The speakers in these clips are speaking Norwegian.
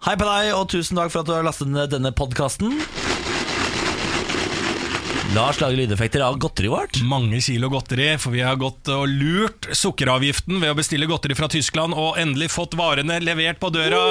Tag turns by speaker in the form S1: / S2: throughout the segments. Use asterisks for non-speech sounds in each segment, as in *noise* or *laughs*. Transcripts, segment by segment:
S1: Hei på deg, og tusen takk for at du har lastet ned denne podkasten. Lars lager lydeffekter av godteriet vårt.
S2: Mange kilo godteri, for vi har gått og lurt sukkeravgiften ved å bestille godteri fra Tyskland, og endelig fått varene levert på døra!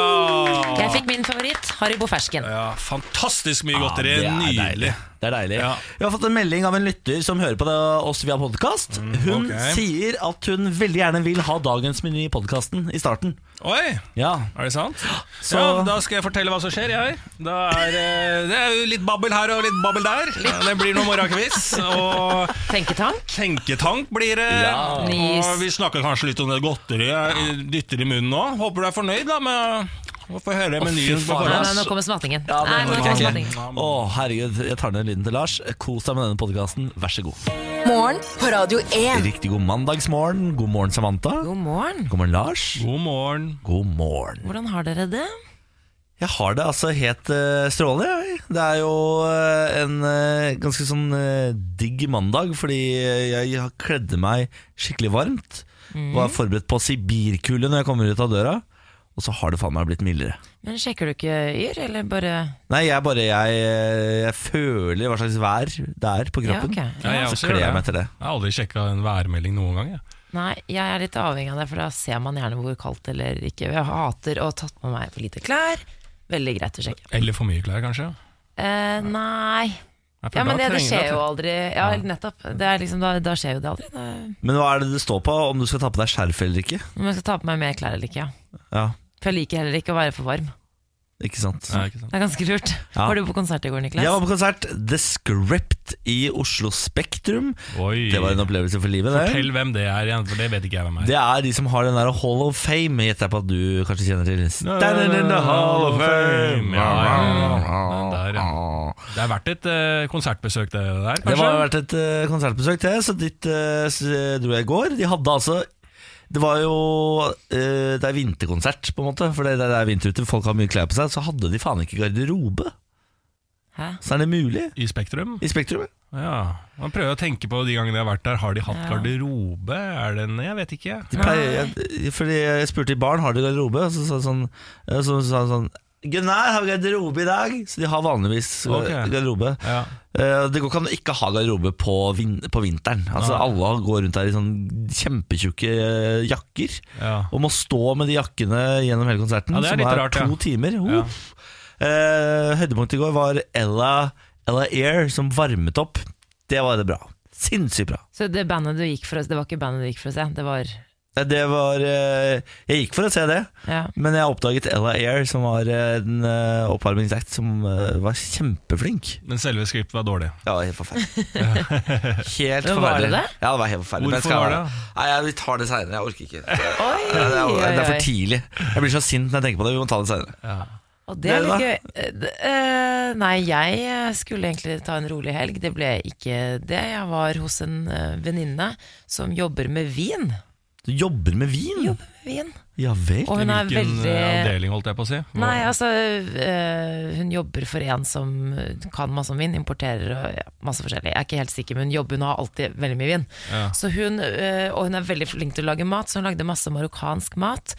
S3: Jeg fikk min favoritt, Haribo fersken.
S2: Ja, fantastisk mye
S1: Ja,
S2: godteri.
S1: det er
S2: Nydelig.
S1: Deilig. Det er deilig.
S2: Ja.
S1: Vi har fått en melding av en lytter som hører på det, oss via podkast. Hun
S2: Mm, ok.
S1: sier at hun veldig gjerne vil ha dagens meny i podkasten i starten.
S2: Oi!
S1: Ja.
S2: Er det sant?
S1: Så-
S2: Ja, da skal jeg fortelle hva som skjer, jeg. Da er, eh, det er jo litt babbel her og litt babbel der. Det blir noe morgenkviss. Og
S3: Tenketank.
S2: tenketank blir det.
S1: Ja.
S3: Nice.
S2: Og vi snakker kanskje litt om det godteriet jeg dytter i munnen nå. Håper du er fornøyd da med å få høre menyen.
S1: fy
S2: på
S1: faen.
S3: Nei,
S2: forhånd.
S3: nei, nå kommer smattingen.
S1: Ja,
S3: Nei,
S1: det orker
S3: nå kommer
S1: jeg
S3: smattingen.
S1: ikke. Å, herregud, jeg tar ned lyden til Lars. Kos deg med denne podkasten, vær så god.
S4: Morgen på Radio 1.
S1: Riktig god mandagsmorgen. God morgen, Samantha.
S3: God morgen.
S1: God morgen, Lars.
S2: God morgen.
S1: God morgen.
S3: Hvordan har dere det?
S1: Jeg har det altså helt eh, strålende. jeg. Det er jo eh, en eh, ganske sånn eh, digg mandag, fordi jeg, jeg kledde meg skikkelig varmt.
S2: Mm.
S1: Var forberedt på sibirkulde når jeg kommer ut av døra, og så har det faen meg blitt mildere.
S3: Men Sjekker du ikke Yr, eller bare
S1: Nei, jeg bare jeg, eh, jeg føler hva slags vær det er på kroppen.
S3: Ja, ok.
S2: Ja, jeg også
S1: Så
S2: gjør
S1: kler jeg meg
S2: det.
S1: til det.
S2: Jeg har aldri sjekka en værmelding noen gang. Jeg.
S3: Nei, jeg er litt avhengig av det, for da ser man gjerne hvor kaldt eller ikke. Jeg hater å ha tatt med meg for lite klær. Veldig greit å sjekke.
S2: Eller for mye klær, kanskje.
S3: Eh, nei
S2: Nei, for
S3: Ja, men
S2: da
S3: det, det
S2: trenger
S3: skjer
S2: du
S3: jo
S2: at-
S3: aldri. Ja, nettopp. Det er liksom, da, da skjer jo det aldri. Det,
S1: Men hva er det det står på om du skal ta på deg skjerf eller ikke?
S3: om jeg skal ta på meg mer klær eller ikke. Ja.
S1: Ja,
S3: For jeg liker heller ikke å være for varm.
S1: ikke sant?
S2: Nei, ikke sant.
S3: Det er ganske lurt.
S1: Ja.
S3: Var du på konsert i går, Niklas?
S1: Jeg var på konsert The Script i Oslo Spektrum.
S2: Oi.
S1: Det var en opplevelse for livet. det.
S2: Fortell hvem det er igjen, for det vet ikke jeg hvem er.
S1: Det er de som har den der Hall of Fame, gjetter jeg på at du kanskje kjenner til. Standing in the Hall of Fame.
S2: Ja, ja, ja. Den der, ja. Det er verdt et eh, konsertbesøk, det der.
S1: Det
S2: kanskje?
S1: var vært et eh, konsertbesøk til, så dit eh, s- dro jeg i går. De hadde altså Det var jo eh, Det er vinterkonsert, på en måte, for det, det er vinter ute, folk har mye klær på seg. Så hadde de faen ikke garderobe.
S3: Hæ?
S1: Så er det mulig
S2: I Spektrum?
S1: i Spektrum.
S2: Ja. Man prøver å tenke på de gangene jeg har vært der. Har de hatt
S3: Ja.
S2: garderobe? Er det en Jeg vet ikke.
S1: De pleier, jeg, fordi jeg spurte i baren har de garderobe, og så sa han sånn, så, så, sa han sånn Gunnar, har vi garderobe i dag? Så de har vanligvis eh,
S2: Ok.
S1: garderobe.
S2: Ja.
S1: Eh, Det går ikke an å ikke ha garderobe på, vin på vinteren. Altså
S2: Nei.
S1: Alle går rundt her i sånn kjempetjukke eh, jakker
S2: Ja.
S1: og må stå med de jakkene gjennom hele konserten,
S2: Ja, det er
S1: som
S2: litt
S1: er
S2: rart,
S1: to
S2: ja.
S1: timer.
S2: Ja.
S1: Uff. Eh, høydepunktet i går var Ella, Ella Air som varmet opp. Det var det bra. Sinnssykt bra.
S3: Så det bandet du gikk for å se, det var ikke bandet du gikk for å se, det var
S1: Eh, Det var eh, Jeg gikk for å se det,
S3: ja.
S1: men jeg oppdaget Ella Air, som var eh, en eh, oppvarmingsakt som eh, var kjempeflink.
S2: Men selve skriptet var dårlig.
S1: Ja, det var *laughs* helt forferdelig. helt
S3: Men
S1: forferdelig.
S3: var det det?
S1: Ja, det var helt forferdelig. men jeg
S2: Hvorfor
S1: skal-
S2: var det?
S1: Nei, jeg, vi tar det seinere. Jeg orker ikke. Det
S3: Oi,
S1: er, det,
S3: oi,
S1: er, det er for
S3: oi.
S1: tidlig. Jeg blir så sint når jeg tenker på det. Vi må ta det seinere.
S3: Og det er
S1: Dere,
S3: litt gøy. Eh, d- eh, nei, jeg eh, skulle egentlig ta en rolig helg. Det ble ikke det. Jeg var hos en eh, venninne som jobber med vin.
S1: Du jobber med vin?
S3: Jobber med vin.
S1: Ja vel.
S3: Og hun er
S2: Hvilken eh,
S3: veldig
S2: avdeling, holdt jeg på å si? Hva-
S3: Nei, altså eh, Hun jobber for en som eh, kan masse om vin, importerer og ja, masse forskjellig. Jeg er ikke helt sikker, men hun jobber, hun har alltid veldig mye vin.
S2: Ja.
S3: Så hun, eh, og hun er veldig flink til å lage mat, så hun lagde masse marokkansk mat.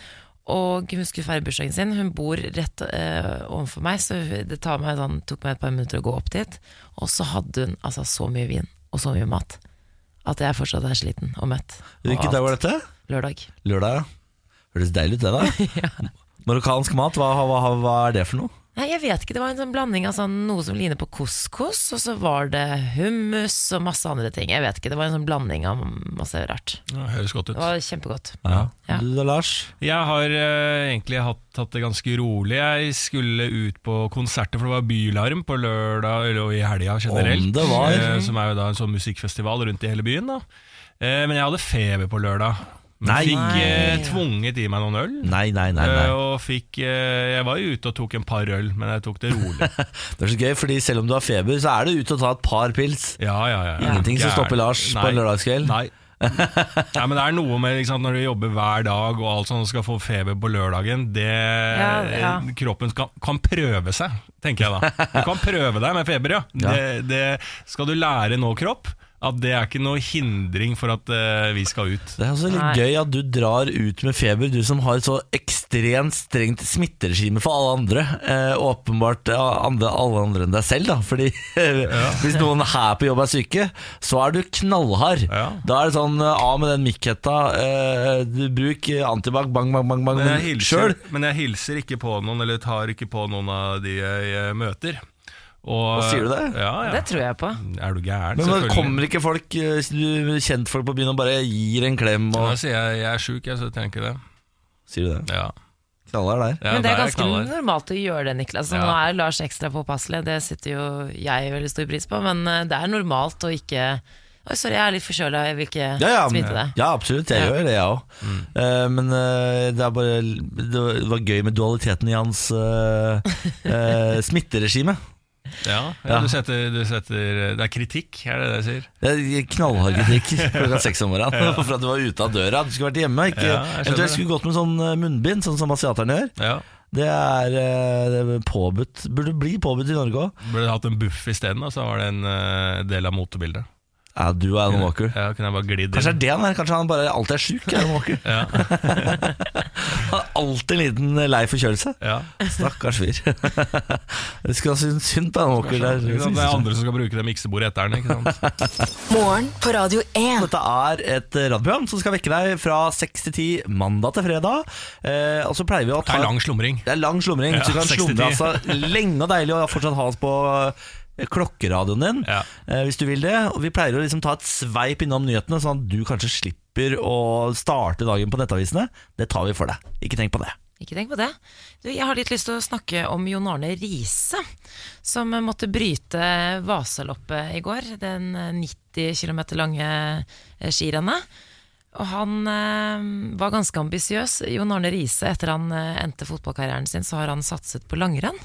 S3: Og hun skulle feire bursdagen sin. Hun bor rett eh, ovenfor meg, så det tar meg, sånn, tok meg et par minutter å gå opp dit. Og så hadde hun altså så mye vin og så mye mat at jeg fortsatt er sliten og mett. Og
S1: Hvilken dag var dette?
S3: Lørdag.
S1: Lørdag, ja. Høres deilig ut, det,
S3: *laughs*
S1: da. Marokkansk mat, hva, hva, hva, hva er det for noe?
S3: Nei, jeg vet ikke. Det var en sånn blanding av sånn, noe som ligner på couscous, og så var det hummus og masse andre ting. Jeg vet ikke. Det var en sånn blanding av masse rart.
S2: Ja, høres godt ut.
S3: Det var kjempegodt.
S1: Ja.
S3: Ja.
S1: Du da, Lars?
S2: Jeg har eh, egentlig hatt, hatt det ganske rolig. Jeg skulle ut på konserter, for det var Bylarm på lørdag eller og i helga generelt.
S1: Om det var.
S2: eh, som er jo da en sånn musikkfestival rundt i hele byen. da eh, Men jeg hadde feber på lørdag. Men
S1: Nei.
S2: fikk eh,
S3: Nei.
S2: tvunget i meg noen øl.
S1: Nei, nei, nei.
S2: eh,
S1: nei.
S2: Og fikk eh, Jeg var jo ute og tok en par øl, men jeg tok
S1: *laughs*
S2: det rolig.
S1: Det er så gøy, fordi selv om du har feber, så er det ute og ta et par pils.
S2: Ja, ja, ja, ja.
S1: Ingenting som
S2: Gæren.
S1: stopper Lars på en
S2: Nei.
S1: lørdagskveld.
S2: Nei. Nei, men det er noe med ikke sant, når du jobber hver dag og alt sånt og skal få feber på lørdagen det,
S3: ja.
S2: Kroppen skal, kan prøve seg, tenker jeg da. Du kan prøve deg med feber, ja.
S1: Ja.
S2: Det, det skal du lære nå, kropp. At det er ikke noe hindring for at eh, vi skal ut.
S1: Det er også litt
S3: Nei.
S1: gøy at du drar ut med feber, du som har et så ekstremt strengt smitteregime for alle andre. Eh, åpenbart ja, andre, alle andre enn deg selv, da. Fordi eh, hvis noen her på jobb er syke, så er du knallhard.
S2: Ja.
S1: Da er det sånn eh, av med den mikkhetta, eh, du bruk eh, antibac, bang, bang, bang, bang
S2: Men jeg,
S1: sjøl.
S2: hilser, men jeg hilser ikke på noen, eller tar ikke på noen av de jeg eh, møter.
S1: Hva sier du det?
S2: Ja, ja.
S3: Det tror jeg på.
S2: Er du gæren?
S1: Men når
S2: Selvfølgelig.
S1: kommer ikke folk, eh, du- kjentfolk på byen og bare gir en klem
S2: Ja,
S1: og
S2: Da sier jeg jeg er sjuk, jeg, så tenker jeg det.
S1: Sier du det?
S2: Ja.
S1: Knallhard der.
S2: Ja,
S3: Men det er
S2: der
S3: ganske
S2: knallhard.
S3: normalt å gjøre det, Niklas. Så
S2: Ja.
S3: Nå er Lars ekstra påpasselig, det setter jo jeg veldig stor pris på, men eh, det er normalt å ikke Oi, sorry, jeg er litt forkjøla, jeg vil ikke
S1: Ja, ja,
S3: smitte deg.
S1: ja absolutt. Jeg
S3: Ja.
S1: gjør det, jeg òg. men eh, det, er bare, det var- det var gøy med dualiteten i hans eh, eh, smitteregime.
S2: Ja, ja,
S1: Ja.
S2: Du, setter, du setter Det er kritikk, er det det jeg sier?
S1: Det er Knallhard kritikk klokka seks om *laughs* morgenen for at du var ute av døra. Du skulle vært hjemme. Ikke,
S2: Ja, jeg skjønner
S1: eventuelt
S2: det.
S1: skulle gått med sånn eh, munnbind, sånn som asiaterne gjør.
S2: Ja.
S1: Det er, eh, det er påbudt. Burde bli påbudt i Norge òg.
S2: Burde hatt en buff isteden, og så var det en eh, del av motebildet.
S1: Ja, du er Alan Walker.
S2: Ja, kunne jeg bare glidd
S1: Kanskje
S2: inn.
S1: det er det han er. Kanskje han bare alltid er sjuk. Alan *laughs* Walker.
S2: Ja,
S1: Han har alltid en liten eh, lei forkjølelse.
S2: ja.
S1: Stakkars fyr. *laughs* Jeg skulle ha syntes synd på Alan Walker.
S2: Kanskje
S1: der.
S2: det er andre som skal bruke det miksebordet etter den. ikke sant?
S4: Morgen på Radio 1.
S1: *laughs* Dette er et radioprogram som skal vekke deg fra 6 til 10 mandag til fredag. Eh, og så pleier vi å
S2: Det
S1: ta
S2: er lang slumring.
S1: Det er lang slumring,
S2: Ja,
S1: så du kan
S2: 6 til
S1: slumre altså, lenge og deilig og fortsatt ha oss på eh, klokkeradioen din.
S2: Ja.
S1: Eh, hvis du vil det. Og vi pleier å liksom ta et sveip innom nyhetene, sånn at du kanskje slipper å starte dagen på nettavisene. Det tar vi for deg. Ikke tenk på det.
S3: Ikke tenk på det. Du, jeg har litt lyst til å snakke om Jon Arne Riise, som eh, måtte bryte Vasaloppet i går. Den eh, 90 km lange eh, skirennet. Og han eh, var ganske ambisiøs. Jon Arne Riise, etter han eh, endte fotballkarrieren sin, så har han satset på langrenn.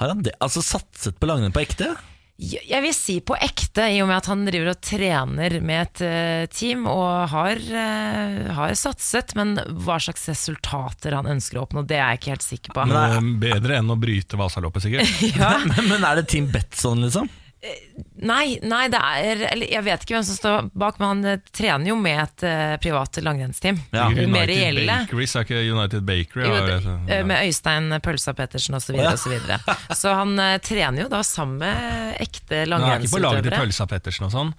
S1: Har han det? Altså satset på langrenn på ekte?
S3: Jeg jeg vil si på ekte, i og med at han driver og trener med et eh, team og har, eh, har satset, men hva slags resultater han ønsker å oppnå, det er jeg ikke helt sikker på.
S2: Noe bedre enn å bryte Vasaloppet, sikkert.
S1: Men, men er det Team Betson, liksom?
S3: Nei, nei det er, eller jeg vet ikke hvem som står bak, men han eh, trener jo med et eh, privat langrennsteam.
S1: *laughs* Ja.
S3: Det mer
S2: United
S3: reelle.
S2: Bakeries er ikke United Bakery.
S3: Jo,
S2: har
S3: det-
S2: jeg sett.
S3: eh, med Øystein Pølsa Pettersen osv. Så, videre, og så,
S2: *laughs*
S3: videre. så han eh, trener jo da sammen med ekte
S2: Men Han er ikke på laget til
S3: langrennsutøvere.
S2: Pølsa Pettersen og sånn.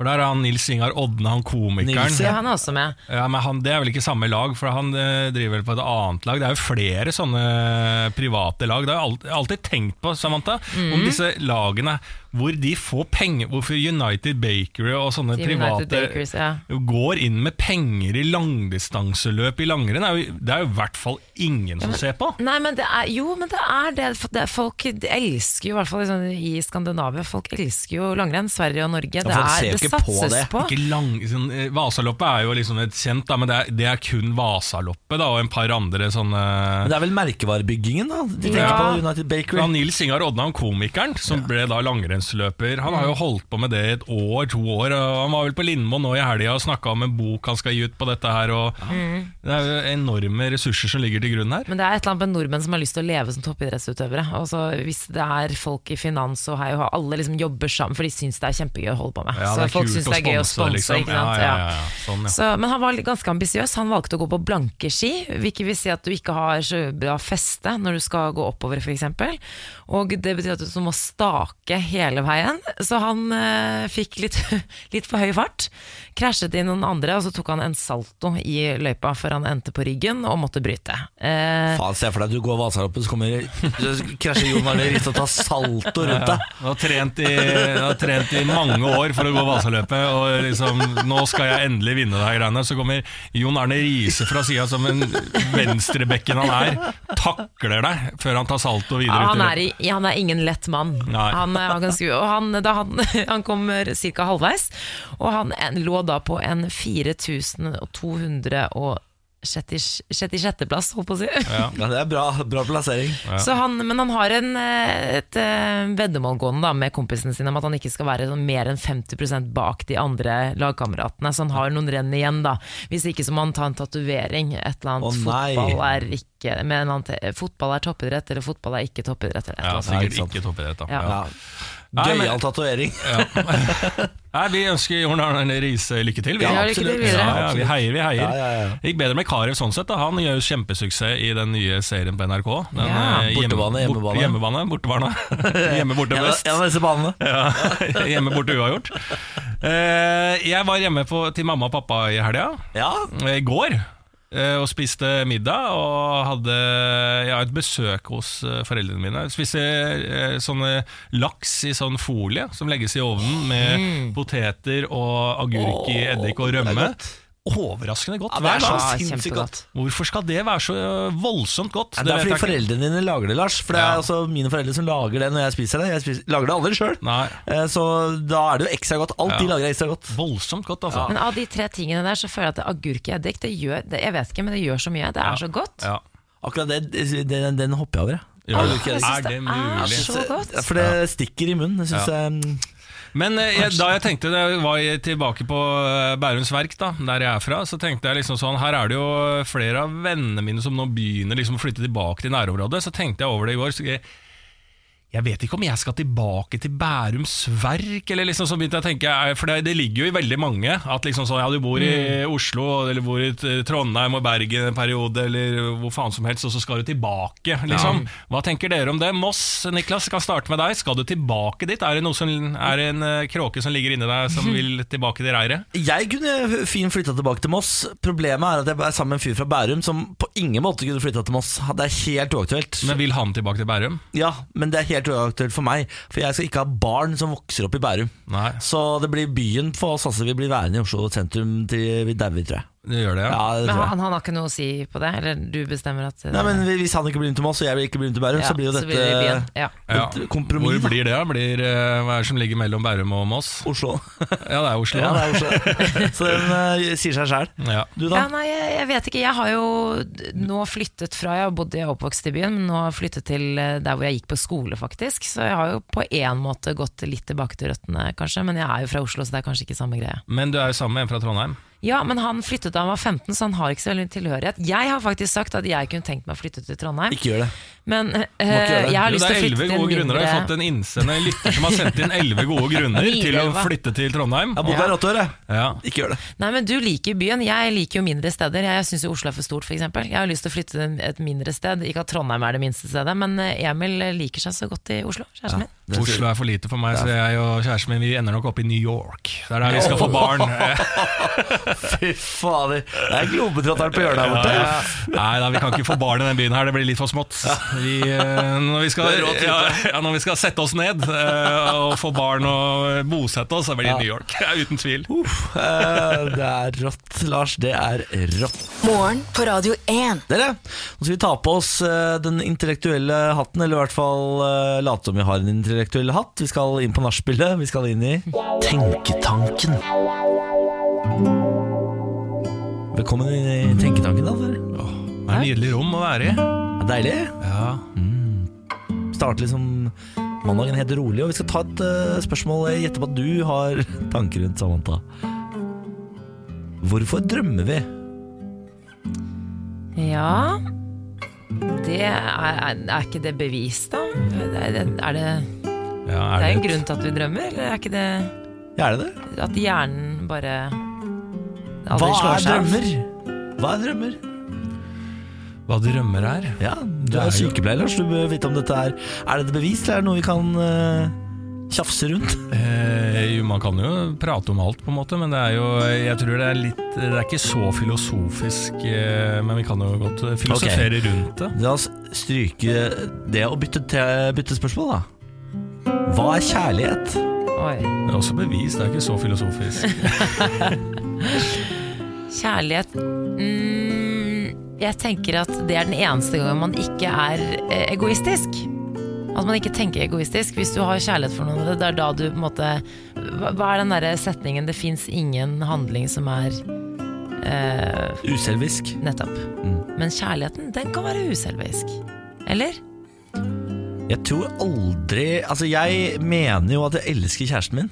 S2: For der er han Nils Ingar Odne, han komikeren.
S1: Nils,
S3: Ja,
S2: ja.
S3: han er også med.
S2: men han, Det er vel ikke samme lag, for han eh, driver vel på et annet lag. Det er jo flere sånne eh, private lag. Det har jeg alt- jeg har alltid tenkt på, Samantha,
S3: Mhm.
S2: om disse lagene hvor de får penger. Hvorfor United Bakery og sånne
S3: Team
S2: private
S3: United Bakers, ja.
S2: går inn med penger i langdistanseløp i langrenn. Det er jo- Det er jo i hvert fall ingen som ser på.
S3: Nei, men det er, jo, men det er det. For det folk elsker jo, i hvert fall liksom, i Skandinavia, folk elsker jo langrenn. Sverige og Norge. Det,
S1: folk ser
S3: er,
S1: jo
S3: det
S1: ikke på
S3: satses
S1: det.
S3: på.
S2: Ikke lang, sånn, eh, Vasaloppet er jo liksom et kjent, da, men det er, det er kun Vasaloppet da, og en par andre sånne
S1: Men det er vel merkevarebyggingen, da? De tenker
S3: Ja.
S1: på United Bakery.
S2: han Nils Ingar Odnan, komikeren, som ble da langrennsløper, han har jo holdt på med det i et år, to år. og Han var vel på Lindmo nå i helga og snakka om en bok han skal gi ut på dette her. Og
S3: Mm.
S2: Det er jo enorme ressurser som ligger til grunn her.
S3: Men det er et eller annet med nordmenn som har lyst til å leve som toppidrettsutøvere. Og så hvis det er folk i finans og hei og hå, alle liksom jobber sammen, for de syns det er kjempegøy å holde på med.
S2: Ja,
S3: så
S2: det er
S3: folk
S2: kult
S3: syns
S2: å
S3: det er gøy å
S2: sponse,
S3: sponse,
S2: liksom.
S3: ikke
S2: Ja,
S3: sant.
S2: ja, ja, ja. Sånn, ja.
S3: Så, men han var litt- ganske ambisiøs. Han valgte å gå på blanke ski, hvilket vil si at du ikke har så bra feste når du skal gå oppover, f.eks. Og det betyr at du må stake hele veien. Så han eh, fikk litt, *laughs* litt for høy fart, krasjet i noen andre, og så tok han en salto i løypa før han endte på ryggen og måtte bryte. Eh,
S1: Faen, se for deg at du går Vasaloppet, så kommer så krasjer Jon Arne Riise og tar salto rundt deg.
S2: Han har, trent i, han har trent i mange år for å gå Vasaløpet, og liksom, nå skal jeg endelig vinne det her greiene. Så kommer Jon Arne Riise fra sida som en venstrebekken han er, takler deg før han tar salto
S3: Ja,
S2: videre ut
S3: han,
S2: i
S3: er,
S2: løpet.
S3: i- han er ingen lett mann.
S2: Nei.
S3: Han, eh, var ganske, og han, da han, *laughs* han kom ca. halvveis, og han en- lå da på en 4266. plass, holdt på å si.
S1: Ja, det er bra, bra plassering.
S3: Så han, men han har en, eh, et eh, veddemål gående da, med kompisene sine om at han ikke skal være sånn mer enn 50 bak de andre lagkameratene. Så han har noen renn igjen, da. Hvis ikke så må han ta en tatovering. Et eller annet
S1: Å, nei.
S3: fotball er ikke med en eller annen te- Fotball er toppidrett, eller fotball er ikke toppidrett. Eller
S2: Ja,
S3: et eller
S1: Ja,
S3: annet.
S1: ikke
S2: sikkert
S1: sant.
S2: ikke toppidrett, da.
S3: Ja.
S2: Ja.
S1: Ja.
S2: Nei, men-
S1: Gøyal tatovering.
S2: *laughs* Nei, vi ønsker Jon Arne Riise lykke til. vi.
S3: Ja, lykke til videre.
S2: Ja, ja, vi heier, vi heier.
S1: Ja, ja, ja.
S2: Det gikk bedre med Karev sånn sett. da Han gjør jo kjempesuksess i den nye serien på NRK. Den,
S3: Ja.
S2: eh, hjemme-
S1: Bortebane,
S2: bort- Hjemmebane,
S1: *laughs*
S2: bortebane. Hjemme, borte,
S1: En av
S2: best.
S1: en av disse banene.
S2: Ja, *laughs* hjemme, borte, uavgjort. Eh, Jeg var hjemme på, til mamma og pappa i helga,
S1: Ja,
S2: eh, i går. eh, Og spiste middag og hadde ja, et besøk hos eh, foreldrene mine. Spiste eh, sånne laks i sånn folie som legges i ovnen med poteter og agurk i eddik og
S1: Mm. det er
S2: rømme.
S1: godt.
S2: Overraskende godt.
S1: Ja, det
S2: hver
S1: er så
S2: gang.
S3: Ja,
S1: sinnssykt
S3: kjempegodt.
S1: godt.
S2: Hvorfor skal det være så øh, voldsomt godt?
S1: Ja, det er
S2: vet
S1: fordi
S2: jeg ikke.
S1: foreldrene dine lager det, Lars. For det er
S2: Ja.
S1: altså mine foreldre som lager det når jeg spiser det. Jeg spiser, lager det aldri sjøl.
S2: Nei.
S1: Så da er det jo ekstra godt. Alt
S2: Ja.
S1: de lager er ekstra godt.
S2: Voldsomt godt, altså.
S3: Men av de tre tingene der, så føler jeg at agurk i eddik det gjør, det, Jeg vet ikke, men det gjør så mye. Det er så godt.
S2: Ja.
S1: Akkurat det, den, den hopper jeg over, jeg.
S2: Ja.
S1: Har du ikke det?
S2: Er det mulig?
S3: så godt.
S1: Ja, For det stikker i munnen. Jeg synes jeg, mm,
S2: Men eh, jeg, da jeg tenkte det var jeg tilbake på eh, Bærums Verk, da, der jeg er fra, så tenkte jeg liksom sånn Her er det jo flere av vennene mine som nå begynner liksom å flytte tilbake til nærområdet. Så tenkte jeg over det i går. Så jeg, jeg vet ikke om jeg skal tilbake til Bærums Verk, eller liksom så begynte jeg å tenke eh, For det, det ligger jo i veldig mange at liksom sånn Ja, du bor i Oslo, eller bor i eh, Trondheim og Bergen en periode, eller hvor faen som helst, og så skal du tilbake, liksom. Hva tenker dere om det? Moss, Niklas, skal starte med deg. Skal du tilbake dit? Er det noe som Er det en eh, kråke som ligger inni deg, *laughs* som vil tilbake til reiret?
S1: jeg kunne fin flytta tilbake til Moss. Problemet er at jeg er sammen med en fyr fra Bærum som på ingen måte kunne flytta til Moss. Det er helt uaktuelt.
S2: Men vil han tilbake til Bærum?
S1: Ja, men det er helt uaktuelt for meg. For jeg skal ikke ha barn som vokser opp i Bærum.
S2: Nei,
S1: Så det blir byen for oss. Altså, vi blir værende i Oslo sentrum til vi dauer, tror jeg.
S2: det gjør det, ja.
S1: Ja, det
S3: Men
S1: tror jeg.
S3: han, han har ikke noe å si på det? Eller du bestemmer at eh,
S1: Nei, men Hvis han ikke blir med til Moss, og jeg blir ikke blir med til Bærum,
S3: ja,
S1: så blir jo dette
S3: det i byen. Ja.
S2: Ja.
S1: et kompromiss.
S2: Hvor blir det? da? Blir, eh, hva er det som ligger mellom Bærum og Moss?
S1: da. Oslo.
S2: Ja, det er Oslo.
S1: Ja,
S2: da.
S1: det
S2: *laughs*
S1: er Oslo. Så den eh, sier seg sjæl.
S2: Ja.
S1: Du,
S3: Ja,
S1: da?
S3: nei, jeg, jeg vet ikke. Jeg har jo d- nå flyttet fra Jeg har bodd jeg er oppvokst i byen, men nå har jeg flyttet til eh, der hvor jeg gikk på skole, faktisk. Så jeg har jo på én måte gått litt tilbake til røttene, kanskje. Men jeg er jo fra Oslo, så det er kanskje ikke samme greie.
S2: Men du er jo sammen med en fra Trondheim.
S3: Ja, men han flyttet da han var 15, så han har ikke så veldig tilhørighet. Jeg har faktisk sagt at jeg kunne tenkt meg å flytte til Trondheim,
S1: Ikke gjør det.
S3: men eh,
S1: gjøre det.
S3: jeg har
S2: Jo,
S3: lyst
S2: det
S3: til
S2: er
S3: å flytte
S2: elleve
S3: til en
S2: gode grunner. Jeg har fått
S3: mindre
S2: en innsend en lytter som har sendt inn elleve gode grunner til å
S3: Nyrelva.
S2: flytte til Trondheim.
S1: Jeg har bodd der i åtte år, jeg.
S2: Ja.
S1: Ikke gjør det.
S3: Nei, men du liker jo byen. Jeg liker jo mindre steder. Jeg syns jo Oslo er for stort, f.eks. Jeg har lyst til å flytte til en- et mindre sted. Ikke at Trondheim er det minste stedet, men eh, Emil liker seg så godt i Oslo, kjæresten min.
S1: Det sier-
S2: Oslo er for lite for meg, så jeg og kjæresten min vi ender nok opp i New York. Det er der vi skal få
S3: *laughs*
S2: barn.
S1: Fy fader. Det er globetrotteren på hjørnet her borte.
S2: Ja. Nei da, vi kan ikke få barn i den byen her, det blir litt for smått. Vi, eh, når, vi skal,
S1: Det er rått lite.
S2: ja, ja, når vi skal sette oss ned eh, og få barn og bosette oss, så blir det New York. *laughs* Ja, Uten tvil.
S1: Uff, eh, det er rått, Lars. Det er rått.
S4: Morgen på Radio 1.
S1: Dere, nå skal vi ta på oss eh, den intellektuelle hatten, eller i hvert fall eh, late som vi har en intellektuell hatt. Vi skal inn på nachspielet. Vi skal inn i Tenketanken. Velkommen inn i Tenketanken, da. dere.
S2: Det er et nydelig rom å være i.
S1: Ja, Deilig.
S2: Ja.
S1: Starte liksom mandagen helt rolig, og vi skal ta et eh, spørsmål. Jeg gjetter på at du har *laughs* tanker rundt, Samantha. Hvorfor drømmer vi?
S3: Ja det er, er, er ikke det bevis, da? Er det, er det,
S2: Ja,
S3: det er
S2: det
S3: en grunn til at vi drømmer, eller er ikke det
S1: Ja, er det det?
S3: at hjernen bare aldri
S1: Hva
S3: slår
S1: er
S3: seg av?
S1: drømmer? Hva er drømmer?
S2: Hva drømmer er?
S1: Ja, du
S2: Det
S1: er
S2: er jo-
S1: sykepleier, Lars. Du bør vite om dette er Er dette bevis, eller er det noe vi kan eh, tjafse rundt?
S2: Eh, jo, man kan jo prate om alt, på en måte, men det er jo Jeg tror det er litt Det er ikke så filosofisk, eh, men vi kan jo godt filosofere rundt det.
S1: *laughs* La oss stryke det og bytte, te- bytte spørsmål, da. Hva er kjærlighet?
S3: Oi.
S2: Det er også bevis, det er ikke så filosofisk.
S3: Kjærlighet mm, Jeg tenker at det er den eneste gangen man ikke er eh, egoistisk. At man ikke tenker egoistisk. Hvis du har kjærlighet for noen, det er da du på en måte Hva hva er den derre setningen 'det fins ingen handling som er eh,
S1: Uselvisk.
S3: Nettopp. Men kjærligheten, den kan være uselvisk. Eller?
S1: Jeg tror aldri Altså, jeg mener jo at jeg elsker kjæresten min.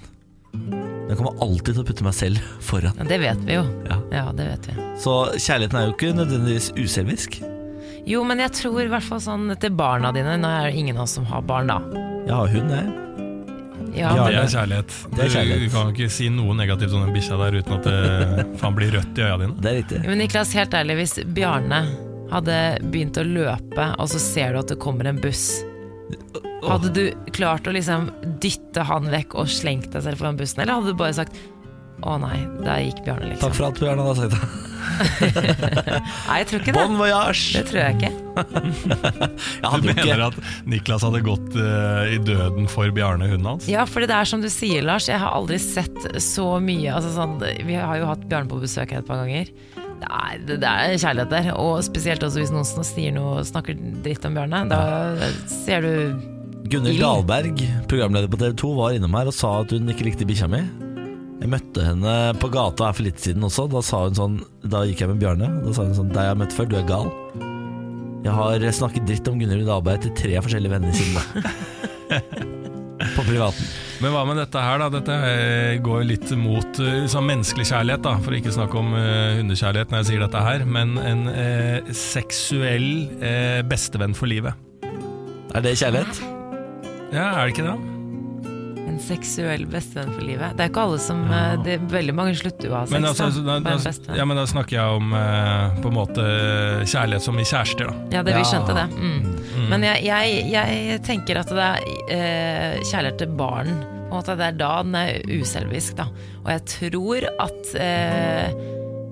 S1: Men jeg kommer alltid til å putte meg selv *laughs* foran.
S3: Ja, det vet vi jo.
S1: Ja.
S3: det vet vi.
S1: Så kjærligheten er jo ikke nødvendigvis uselvisk.
S3: Jo, men jeg tror i hvert fall sånn til barna dine Nå er det ingen av oss som har barn, da.
S1: Jeg har hun, jeg.
S3: Ja,
S1: Ja.
S2: Det er kjærlighet.
S1: Det er kjærlighet.
S2: Du, du kan jo ikke si noe negativt om den bikkja der uten at det faen blir rødt i øya dine.
S1: Det er riktig.
S3: Men Niklas, helt ærlig, hvis Bjarne hadde begynt å løpe, og så ser du at det kommer en buss Hadde du klart å liksom dytte han vekk og slengt deg selv foran bussen, eller hadde du bare sagt å nei, der gikk Bjarne, liksom.
S1: Takk for alt du gjerne hadde sagt. det.
S3: Nei, jeg tror ikke det.
S1: Bon voyage!
S3: Det tror jeg ikke.
S1: Jeg
S2: Du
S1: hadde jo
S2: mener
S1: ikke
S2: at Niklas hadde gått eh, i døden for Bjarne, hunden hans?
S3: Ja, fordi det er som du sier, Lars. Jeg har aldri sett så mye altså, sånn, Vi har jo hatt Bjarne på besøk her et par ganger. Det er, det, det er kjærlighet der. Og spesielt også hvis noen sn- sier noe, snakker dritt om Bjarne. Da ser du
S1: Gunnhild Dahlberg, programleder på TV 2, var innom her og sa at hun ikke likte bikkja mi. Jeg møtte henne på gata her for litt siden også. Da, sa hun sånn, da gikk jeg med Bjarne. Da sa hun sånn Deg jeg har møtt før, du er gal. Jeg har snakket dritt om Gunnhild Dahlberg til tre forskjellige venner siden da. på privaten.
S2: Men hva med dette her, da? Dette eh, går litt mot eh, liksom menneskelig kjærlighet, da. For å ikke snakke om eh, hundekjærlighet når jeg sier dette her. Men en eh, seksuell eh, bestevenn for livet.
S1: Er det kjærlighet?
S2: Ja, er det ikke det? da?
S3: En seksuell bestevenn for livet. Det er ikke alle som eh, det, Veldig mange slutter jo å ha sex.
S2: Men, altså,
S3: da,
S2: da,
S3: bare en
S2: da,
S3: bestevenn.
S2: ja, men da snakker jeg om eh, på en måte kjærlighet som i kjærester, da.
S3: Ja, det, vi
S1: Ja.
S3: skjønte det. Mm. Men jeg, jeg, jeg tenker at det er eh, kjærlighet til barn. På en måte, det er da den er uselvisk, da. Og jeg tror at eh,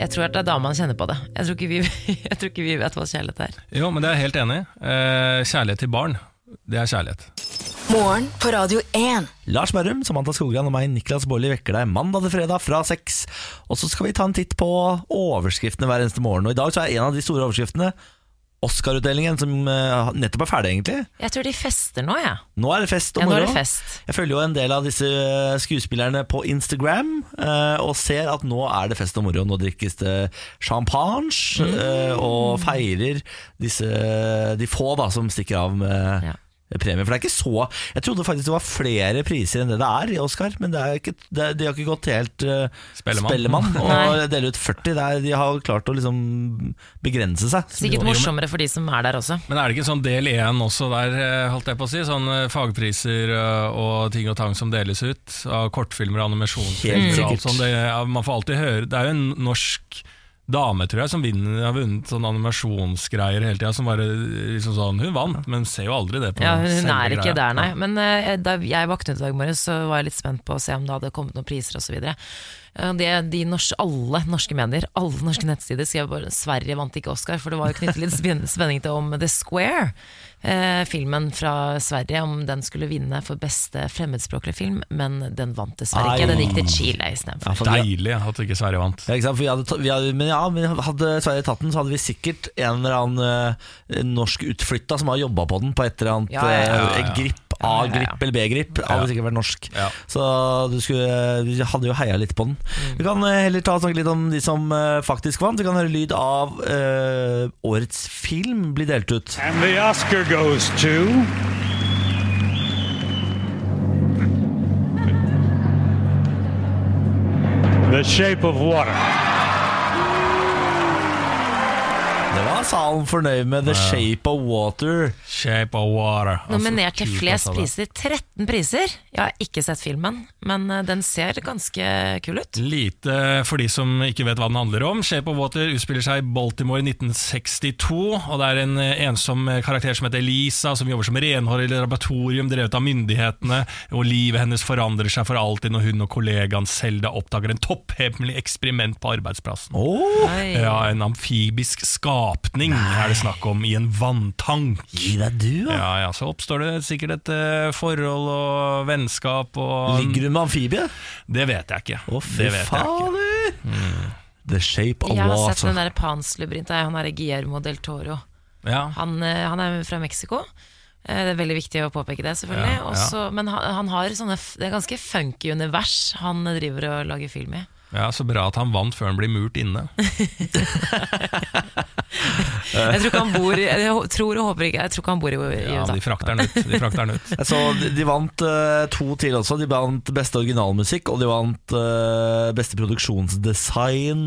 S3: Jeg tror at det er da man kjenner på det. Jeg tror ikke vi, *laughs* jeg tror ikke vi vet hva kjærlighet er.
S2: Jo, men det er jeg helt enig i. Eh, kjærlighet til barn, det er kjærlighet.
S4: Morgen på Radio 1.
S1: Lars Berrum, Samantha Skogran og meg, Niklas Baarli, vekker deg mandag til fredag fra seks. Og så skal vi ta en titt på overskriftene hver eneste morgen. Og i dag så er en av de store overskriftene Oscar-utdelingen, som eh, nettopp er ferdig, egentlig.
S3: Jeg tror de fester nå, jeg.
S1: Nå er det fest
S3: Ja.
S1: og
S3: nå
S1: moro.
S3: er det fest.
S1: Jeg følger jo en del av disse eh, skuespillerne på Instagram, eh, og ser at nå er det fest og moro. Nå drikkes det champagne, eh,
S3: Mm.
S1: og feirer disse, de få da, som stikker av med
S3: Ja.
S1: premie. For det er ikke så Jeg trodde faktisk det var flere priser enn det det er i Oscar, men det er ikke, det, de har ikke gått helt eh,
S2: Spellemann.
S3: *laughs*
S1: og
S3: Nei.
S1: deler ut 40. Det er, de har klart å liksom begrense seg.
S3: Sikkert morsommere for de som er der også.
S2: Men er det ikke sånn del én også der, eh, holdt jeg på å si? Sånn eh, fagpriser eh, og ting og tang som deles ut av kortfilmer og
S1: Helt
S2: animasjonsfilmer og alt
S1: sikkert.
S2: sånt. Det, er- man får alltid høre Det er jo en norsk dame, tror jeg, som vinner, har vunnet sånne animasjonsgreier hele tida. Som bare liksom sånn Hun vant, men ser jo aldri det på
S3: Ja, hun, hun
S2: selve
S3: er ikke
S2: greia.
S3: der, nei. Men eh, da jeg våknet i dag morges, så var jeg litt spent på å se om det hadde kommet noen priser osv. Eh, De norske, alle norske medier, alle norske nettsider skrev bare Sverige vant ikke Oscar, for det var jo knyttet litt spen- *laughs* spenning til om The Square, eh, filmen fra Sverige, om den skulle vinne for beste fremmedspråklige film, men den vant dessverre ikke. Den gikk til Chile istedenfor.
S1: Ja, for vi-
S2: Deilig at ikke Sverige vant.
S1: Ja, ikke sant? For vi hadde, ta- vi hadde, men ja, men hadde Sverige tatt den, så hadde vi sikkert en eller annen eh, norsk utflytta som har jobba på den på et eller annet
S3: Ja, ja, ja,
S1: eh,
S2: ja.
S1: grip.
S3: Ja, ja, ja.
S1: A-grip eller B-grip. Hadde sikkert vært norsk.
S2: Ja.
S1: Så du, skulle, du hadde jo heia litt på den.
S3: Mm.
S1: Vi kan eh, heller ta og snakke litt om de som eh, faktisk vant. Vi kan høre lyd av eh, årets film bli delt ut.
S5: And the Oscar goes to. The Shape of Water.
S1: Det var salen fornøyd med. The Shape of Water.
S2: Shape of water. Altså,
S3: Nominert til
S2: kult,
S3: flest
S2: altså, det.
S3: priser. 13 priser! Jeg har ikke sett filmen, men eh, den ser ganske kul ut.
S2: Lite for de som ikke vet hva den handler om. Shape of Water utspiller seg i Baltimore i 1962, og det er en eh, ensom karakter som heter Lisa, som jobber som renholder i et laboratorium drevet av myndighetene, og livet hennes forandrer seg for alltid når hun og kollegaen Selda oppdager en topphemmelig eksperiment på arbeidsplassen.
S1: Åh,
S3: Oi.
S2: Ja, en amfibisk skapning er det snakk om i en vanntank.
S1: gi deg du, da.
S2: Ja, ja, Så oppstår det sikkert et eh, forhold og vennskap og
S1: Ligger du med amfibie?
S2: Det vet jeg ikke.
S1: Å, fy
S2: det vet jeg ikke.
S1: fader! The Shape of
S3: Jeg har sett
S1: Water.
S3: den der Pans labyrint. det er Han er Guillermo del Toro.
S2: Ja.
S3: Han, eh, han er fra Mexico. Eh, Det er veldig viktig å påpeke det, selvfølgelig.
S2: Ja, ja.
S3: Også, men han, han har sånne f- Det er ganske funky univers han driver og lager film i.
S2: Ja, Så bra at han vant før han blir murt inne.
S3: Jeg tror ikke han bor i- Jeg hå- tror og håper ikke Jeg tror ikke han bor i i
S2: Ja,
S3: USA.
S2: De frakter han ut. De frakter han ut.
S1: Jeg så de, de vant eh, to til også. De vant beste originalmusikk, og de vant eh, beste
S3: Mm.
S1: produksjonsdesign.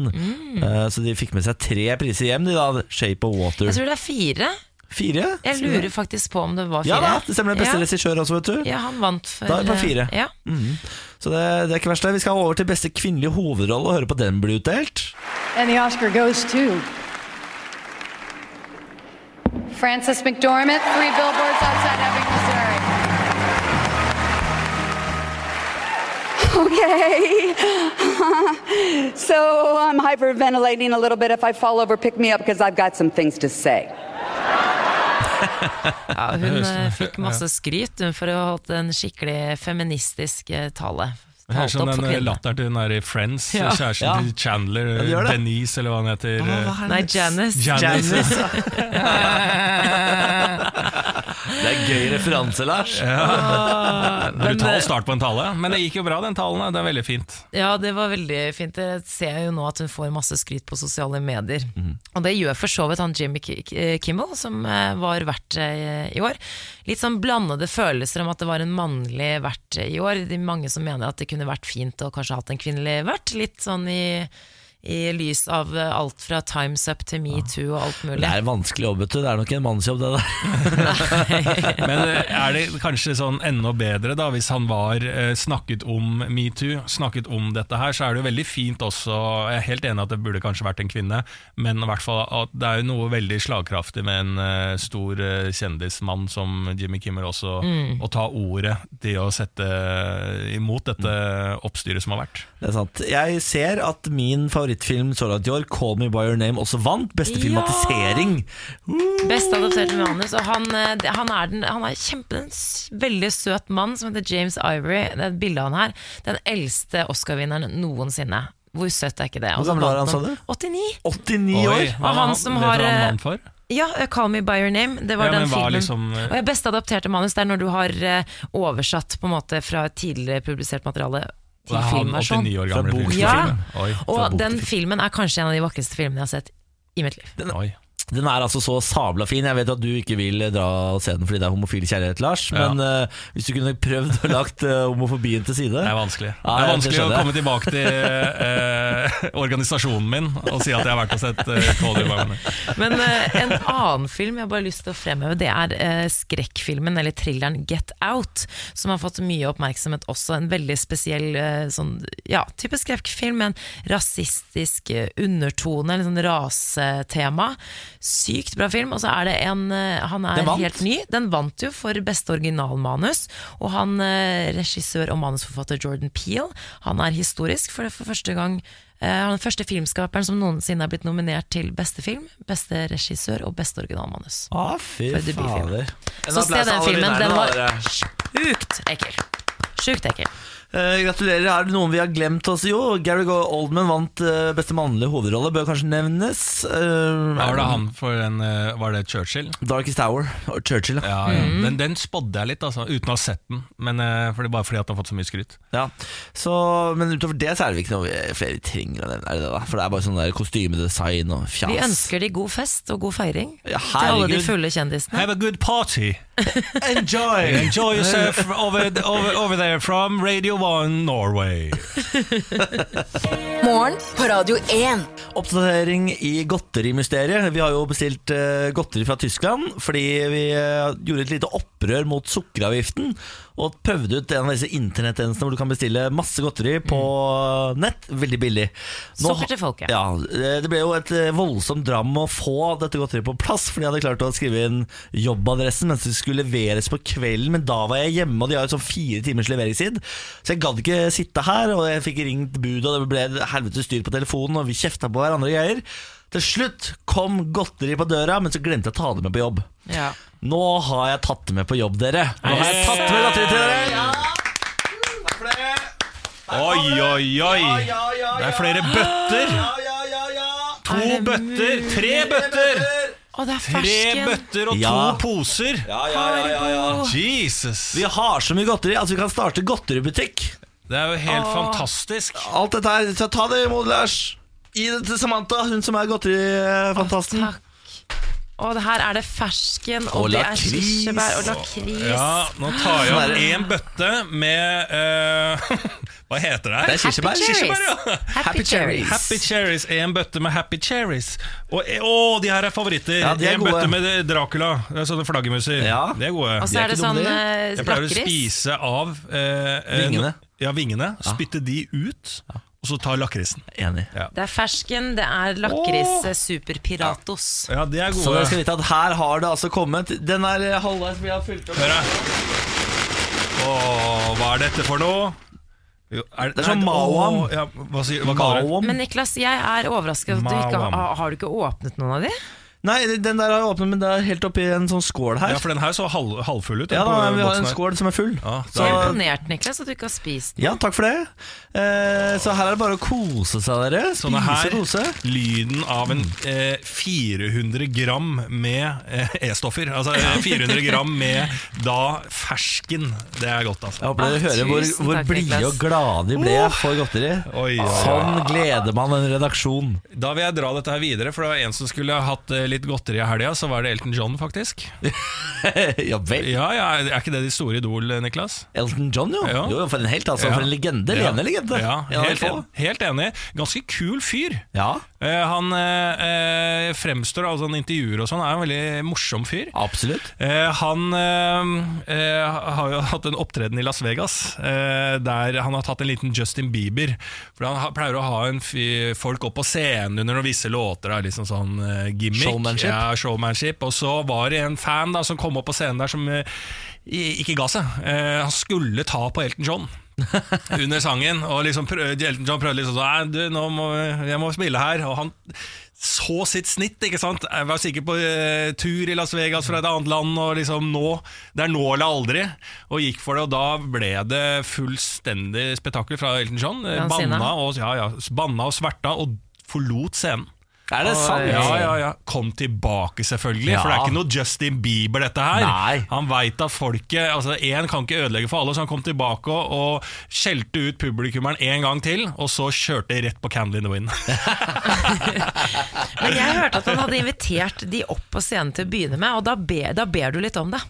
S1: Eh, så de fikk med seg tre priser hjem, de da. Shape of Water.
S3: Jeg tror det er fire.
S1: Fire?
S3: Jeg lurer faktisk på om det var fire.
S1: Ja da, det stemmer. Den beste
S3: Ja.
S1: regissør også, vet du.
S3: Ja, han vant for eh,
S1: Da er det på fire.
S3: Ja.
S1: Mhm. Så det, det er ikke verst. det. Vi skal over til beste kvinnelige hovedrolle og høre på den bli utdelt.
S6: And the Oscar goes to Frances McDormand, Three Billboards Outside Ebbing, Missouri.
S7: *laughs* Okay. so I'm hyperventilating a little bit. If I fall over, pick me up because I've got some things to say.
S3: Ja, hun
S2: Det høres-
S3: eh, fikk masse skryt hun, for å ha holdt en skikkelig feministisk eh, tale.
S2: Det er
S3: Talte
S2: som
S3: opp for
S2: den eh,
S3: kvinnene.
S2: latteren til den der i Friends,
S3: Ja.
S2: kjæresten
S1: Ja.
S2: til Chandler,
S1: det gjør det.
S2: Denise, eller hva han heter. eh,
S3: Nei, Janice.
S2: Jan-
S1: Janice. det er gøy referanse, Lars.
S3: Ah, men, eh,
S2: Brutal start på en tale, men det gikk jo bra, den talen. da. Det er veldig fint.
S3: Ja, det var veldig fint. Jeg ser jo nå at hun får masse skryt på sosiale medier.
S1: Mhm.
S3: Og det gjør for så vidt han Jimmy Ki- Ki- Kimmel, som eh, var vert eh, i år. Litt sånn blandede følelser om at det var en mannlig vert eh, i år. Det er mange som mener at det kunne vært fint å kanskje hatt en kvinnelig vert. Litt sånn i, i lys av eh, alt fra Times Up til Metoo og alt
S1: Det
S3: mulig.
S1: er en vanskelig jobb, vet du. Det er nok en mannsjobb, det der.
S2: Men eh, er det kanskje sånn enda bedre da hvis han var eh, snakket om metoo, snakket om dette her, så er det jo veldig fint også Jeg er helt enig at det burde kanskje vært en kvinne, men i hvert fall at det er jo noe veldig slagkraftig med en eh, stor eh, kjendismann som Jimmy Kimmer også,
S3: Mm.
S2: å ta ordet til å sette imot dette oppstyret som har vært.
S1: Det er sant. Jeg ser at min favorittfilm så langt i år, 'Call Me By Your Name', også vant beste
S3: Ja!
S1: filmatisering.
S3: Best adopterte manus. Og han, eh, det- han er, den, han er kjempe, en s- veldig søt mann som heter James Ivory. Det er et bilde av han her. Den eldste Oscar-vinneren noensinne. Hvor søtt er ikke det? Altså,
S1: Hvor
S3: Og så
S1: gammel var han,
S3: vant
S1: sa du?
S3: 89.
S1: 89 år!
S2: hva
S3: Og han som
S2: vet du
S3: har,
S2: hva han
S3: eh,
S2: vant for?
S3: Ja, eh, 'Call Me By Your Name'. Det var
S2: Ja,
S3: den
S2: men hva
S3: filmen.
S2: liksom, eh,
S3: Og jeg beste adopterte manus, det er når du har eh, oversatt på en måte fra tidligere publisert materiale til
S2: Det er han
S3: filmversjon.
S2: 89 år
S1: Fra
S2: gamle
S1: bok
S2: fyren.
S1: til
S3: film.
S2: Oi.
S1: fra bok
S3: sånn. Og
S1: til
S3: den filmen er kanskje en av de vakreste filmene jeg har sett i mitt liv.
S2: Oi.
S1: Den er altså så sabla fin. Jeg vet at du ikke vil dra og se den fordi det er homofil kjærlighet, Lars,
S2: Ja.
S1: men eh, hvis du kunne prøvd å lagt eh, homofobien til side
S2: Det er vanskelig.
S1: Ja,
S2: det er
S1: jeg
S2: vanskelig å
S1: skjønner.
S2: komme tilbake til eh, organisasjonen min og si at jeg har vært og sett eh, Call You By Your Name.
S3: Men eh, en annen film jeg har bare lyst til å fremheve, det er eh, skrekkfilmen eller thrilleren Get Out, som har fått mye oppmerksomhet også. En veldig spesiell eh, sånn, ja, type skrekkfilm med en rasistisk eh, undertone, eller sånn rasetema. Sykt bra film. Og så er det en eh, Han er
S1: Den vant.
S3: helt ny. Den vant jo for beste originalmanus. Og han eh, regissør og manusforfatter Jordan Peele, han er historisk, for det er for første gang eh, han er den første filmskaperen som noensinne er blitt nominert til beste film, beste regissør og beste originalmanus.
S1: Ah, fy
S3: For det blir film.
S1: fader. En
S3: Så se
S1: applaus til
S3: den
S1: alle
S3: filmen.
S1: vinnerne,
S3: Den var
S1: da, dere.
S3: sjukt ekkel. Sjukt ekkel.
S1: Eh, gratulerer. Er det noen vi har glemt oss? Jo, Gary Oldman vant eh, beste mannlige hovedrolle, bør kanskje nevnes. Eh,
S2: Var det han for en eh, Var det Churchill? Mm.
S1: Darkest Hour og Churchill. Ja.
S2: Ja, ja. Den, den spådde jeg litt, altså, uten å ha sett den. Men eh, fordi, bare fordi at den har fått så mye skryt.
S1: Ja. Så, men utover det så er det ikke noe vi- flere vi trenger å nevne. Er det det da? For det er bare sånn der kostymedesign og fjas.
S3: Vi ønsker de god fest og god feiring
S1: Ja,
S3: til alle de
S1: herregud.
S3: fulle kjendisene.
S2: Have a good party! *laughs*
S1: Enjoy!
S2: Enjoy yourself over, over, over there from Radio 1 Norway.
S4: Morgen på Radio 1.
S1: Oppdatering i godterimysteriet. Vi har jo bestilt eh, godteri fra Tyskland fordi vi eh, gjorde et lite opprør mot sukkeravgiften og prøvde ut en av disse internettjenestene hvor du kan bestille masse godteri på nett. Veldig billig.
S3: Mm. Sukker til folket.
S1: Ja, eh, det ble jo et eh, voldsomt dram å få dette godteriet på plass, for de hadde klart å skrive inn jobbadressen mens det skulle leveres på kvelden, men da var jeg hjemme, og de har jo sånn fire timers leveringstid, så jeg gadd ikke sitte her, og jeg fikk ringt bud, og det ble et helvete styr på telefonen, og vi kjefta på hverandre og greier. Til slutt kom godteri på døra, men så glemte jeg å ta det med på jobb.
S3: Ja.
S1: Nå har jeg tatt det med på jobb, dere. Nå har jeg tatt med godteri til dere.
S2: Oi, oi, oi! Det er flere bøtter! To
S3: Er det
S2: bøtter! Tre bøtter!
S3: Å, det er
S2: Tre
S3: fersken!
S2: bøtter og
S1: Ja.
S2: to poser! Jesus!
S1: Vi har så mye godteri, altså vi kan starte godteributikk.
S2: Det er jo helt fantastisk.
S1: Alt dette her, så ta det imot, Lars. Gi det til Samantha, hun som er godterifantasten.
S3: Takk. Og det her er det fersken,
S1: Og
S3: og, det er
S1: lakris.
S3: kirsebær og lakris.
S2: Ja, nå tar jeg opp én bøtte med eh, *laughs* Hva heter det her?
S1: Det er kirsebær.
S3: Happy cherries.
S2: Kirsebær, ja.
S1: Happy cherries.
S2: Happy Cherries er en bøtte med Happy Cherries. Og, eh, å, de her er favoritter!
S1: Ja, de er
S2: en
S1: gode.
S2: bøtte med Dracula. Det er sånne flaggermuser.
S1: Ja.
S2: De er gode.
S3: Og
S1: Det
S3: så
S1: er
S3: er det
S1: ikke
S3: sånn
S1: dumt,
S3: eh,
S2: Jeg pleier å
S3: lakris.
S2: spise av eh, eh,
S1: Vingene.
S2: Ja, vingene. Spytte de ut, og så ta lakrisen.
S1: Enig.
S3: Det er fersken, det er lakris eh, superpiratos.
S2: Ja, de er
S1: Så dere
S2: gode.
S1: skal vite at her har det altså kommet Den er eh, halvveis vi har fulgt opp.
S2: Hør her. Å, hva er dette for noe? Jo,
S1: Det er sånn mawam.
S2: Å, Ja, hva, sier, hva kaller du det?
S1: Malom.
S3: Men Niklas, jeg er overrasket at du ikke
S2: Mawam.
S3: har, har du ikke åpnet noen av de?
S1: Nei, den der har jeg åpnet, men det er helt oppi en sånn skål her.
S2: Ja, for den her så halv, halvfull ut. den
S1: Ja da,
S2: på
S1: vi har
S2: boksen
S1: en
S2: her.
S1: skål som er full.
S2: Ja, det
S1: så,
S2: er
S3: Imponert, Niklas, at du ikke har spist.
S1: ja, takk for det. Eh, så her er det bare å kose seg, dere. Spise,
S2: Sånne her,
S1: kose.
S2: lyden av en
S1: Mm.
S2: eh, 400 gram med eh, E-stoffer. Altså eh, 400 gram med da fersken. Det er godt,
S1: Jeg
S2: altså.
S1: håper dere
S3: Ah,
S1: hører hvor,
S3: tusen
S1: hvor
S3: takk,
S1: blide
S3: Niklas.
S1: og glade de ble for godteri.
S2: Oi, oi, oi.
S1: Sånn gleder man en redaksjon. *laughs*
S2: Da vil jeg dra dette her videre, for det var en som skulle hatt eh, litt godteri i helga, så var det Elton John,
S1: *laughs*
S2: faktisk.
S1: ja vel.
S2: Ja, ja, Er ikke det de store idol, eh, Niklas?
S1: Elton John, jo.
S2: Ja.
S1: jo. For en helt, altså.
S2: Ja.
S1: For en legende.
S2: Ja.
S1: Levende legende.
S2: Ja,
S1: En av de
S2: helt,
S1: få.
S2: en- helt enig. Ganske kul fyr.
S1: ja,
S2: Eh, han eh, eh, fremstår, altså han intervjuer og sånn, er en veldig morsom fyr.
S1: absolutt.
S2: Eh, han eh, eh, har jo hatt en opptreden i Las Vegas, eh, der han har tatt en liten Justin Bieber. For Han ha- pleier å ha en fy, folk opp på scenen under noen visse låter, da, liksom sånn eh, gimmick.
S1: Showmanship.
S2: Ja, showmanship. Og så var det en fan da, som kom opp på scenen der som eh, i- ikke ga seg. Eh, han skulle ta på Elton John. under sangen, og liksom prøvde, Elton John prøvde liksom sånn Nei, du, nå må jeg må spille her. Og han så sitt snitt, ikke sant? Jeg var sikkert på eh, tur i Las Vegas fra et annet land, og liksom nå Det er nå eller aldri. Og gikk for det, og da ble det fullstendig spetakkel fra Elton John. Eh,
S3: Ble han sinna?
S2: Banna og, ja, ja, banna og sverta, og forlot scenen.
S1: Er det sant?
S2: Ja, ja, ja. Kom tilbake, selvfølgelig.
S1: Ja.
S2: For det er ikke noe Justin Bieber, dette her.
S1: Nei.
S2: Han veit at folket altså Én kan ikke ødelegge for alle, så han kom tilbake og, og skjelte ut publikummeren en gang til, og så kjørte jeg rett på Candle in the *laughs* Wind.
S3: Men jeg hørte at han hadde invitert de opp på scenen til å begynne med, og da ber, da ber du litt om det.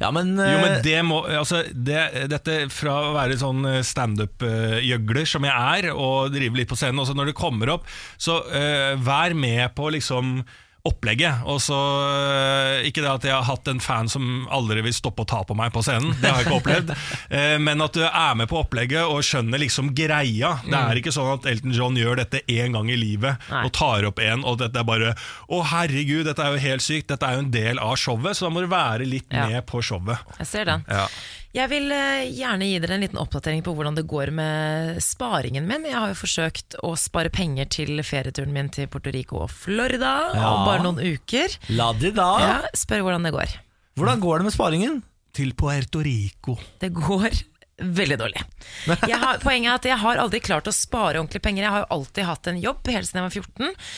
S1: Ja, men,
S2: Jo, men
S1: eh,
S2: det må altså, det, Dette fra å være sånn standup-gjøgler som jeg er, og drive litt på scenen Også når det kommer opp, så eh, vær med på liksom opplegget. Og så eh, Ikke det at jeg har hatt en fan som aldri vil stoppe å ta på meg på scenen, det har jeg ikke
S3: *laughs*
S2: opplevd. Eh, men at du er med på opplegget og skjønner liksom greia. Det er ikke sånn at Elton John gjør dette én gang i livet
S3: Mm. Nei.
S2: og tar opp en, og dette er bare Å, herregud, dette er jo helt sykt. Dette er jo en del av showet, så da må du være litt
S3: Ja.
S2: med på showet.
S3: Jeg ser den.
S2: Ja.
S3: Jeg vil eh, gjerne gi dere en liten oppdatering på hvordan det går med sparingen min. Jeg har jo forsøkt å spare penger til ferieturen min til Puerto Rico og Florida om bare noen uker.
S1: la de da.
S3: Ja, spør hvordan det går.
S1: Hvordan går det med sparingen?
S2: til Puerto Rico.
S3: Det går veldig dårlig. Jeg har, poenget er at jeg har aldri klart å spare ordentlige penger. Jeg har jo alltid hatt en jobb helt siden jeg var 14.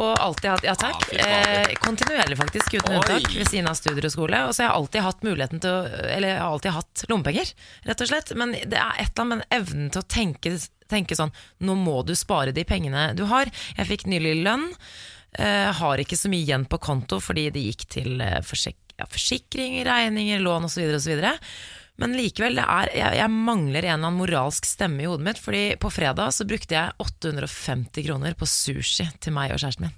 S3: Og alltid hatt, ja takk, eh, kontinuerlig faktisk, uten unntak, ved siden av studier og skole. Og så har jeg alltid hatt muligheten til å, eller jeg har alltid hatt lommepenger, rett og slett. Men det er et eller annet med evnen til å tenke, tenke sånn, nå må du spare de pengene du har. Jeg fikk nylig lønn. Eh, har ikke så mye igjen på konto fordi det gikk til eh, forsek ja, forsikring, regninger, lån osv. osv. Men likevel, det er, jeg, jeg mangler en eller annen moralsk stemme i hodet mitt. Fordi på fredag så brukte jeg 850 kroner på sushi til meg og kjæresten min.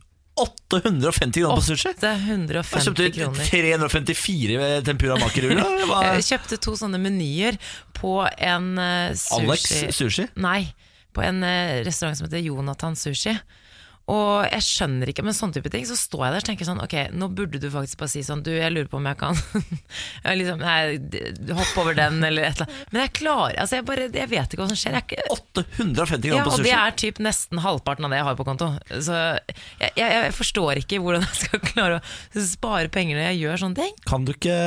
S1: 850 kroner på sushi?
S3: 850
S1: Jeg kjøpte
S3: kroner.
S1: 354 tempura makiruller. da. Det var-
S3: *laughs* Jeg Eh, kjøpte to sånne menyer på en eh, sushi
S1: Alex sushi?
S3: Nei, på en eh, restaurant som heter Jonathan Sushi. Og jeg skjønner ikke, men sånne type ting Så står jeg der og tenker sånn Ok, nå burde du faktisk bare si sånn Du, jeg lurer på om jeg kan *laughs* jeg liksom, Nei, d- hopp over den eller et eller annet Men jeg klarer Altså, jeg bare Jeg vet ikke hva som skjer Jeg er ikke
S1: 850 kroner
S3: ja,
S1: på
S3: og
S1: sushi.
S3: det er typ nesten halvparten av det jeg har på konto. Så jeg, jeg, jeg forstår ikke hvordan jeg skal klare å spare penger når jeg gjør sånne ting.
S1: Kan du ikke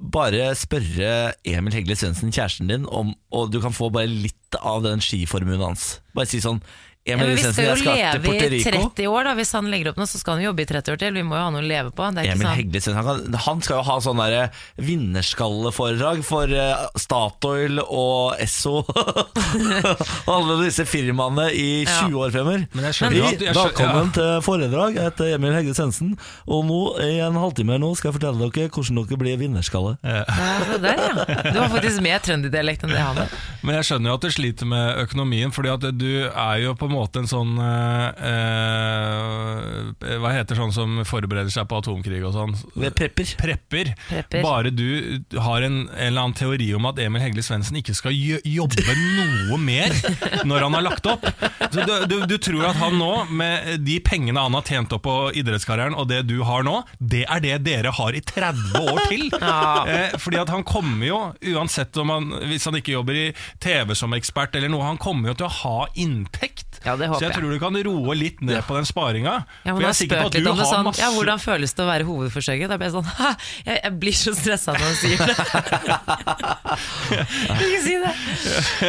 S1: bare spørre Emil Hegle Svendsen, kjæresten din, om og du kan få bare litt litt av den skiformuen hans. Bare si sånn Jeg,
S3: Ja,
S1: med
S3: men vi
S1: lisensen,
S3: skal jo
S1: jeg skal til Puerto
S3: leve i
S1: Rico.
S3: 30 år, da. Hvis han legger opp nå, så skal han jo jobbe i 30 år til. Vi må jo ha noe å leve på. Det
S1: Emil
S3: er ikke sånn- sant.
S1: Hegle sin, han, kan, han skal jo ha sånn derre vinnerskalleforedrag for eh, Statoil og Esso *laughs* og alle disse firmaene i
S3: Ja.
S1: 20 år fremover.
S2: Men jeg skjønner jo at- jeg skjø-
S1: Velkommen til foredrag etter Emil Hegle Sensen. Og nå, i en halvtime her nå skal jeg fortelle dere hvordan dere blir vinnerskalle.
S3: Ja, så der, ja. Du har faktisk mer trønderdialekt enn det han har.
S2: Men jeg skjønner jo at du sliter med økonomien, fordi at du er jo på en måte en sånn eh, eh, Hva heter sånn som forbereder seg på atomkrig og sånn?
S1: Vi er prepper.
S2: Prepper.
S3: Prepper.
S2: Bare du har en, en eller annen teori om at Emil Hegle Svendsen ikke skal jo- jobbe noe mer når han har lagt opp. Så du, du, du tror at han nå, med de pengene han har tjent opp på idrettskarrieren, og det du har nå, det er det dere har i 30 år
S3: *laughs*
S2: til. Eh, fordi at han kommer jo, uansett om han, hvis han ikke jobber i TV som ekspert eller noe, han kommer jo til å ha inntekt.
S3: Ja, det håper
S2: Så jeg
S3: jeg.
S2: tror du kan roe litt ned på den sparinga.
S3: Ja,
S2: for
S3: hun
S2: jeg
S3: har
S2: er sikker på
S3: spøkt
S2: at
S3: litt
S2: du
S3: om det
S2: har
S3: sånn.
S2: masse
S3: Ja, hvordan føles det å være hovedforsørger? Da ble jeg sånn *laughs* Hæ, jeg, jeg blir så stressa når han sier det. ikke si det.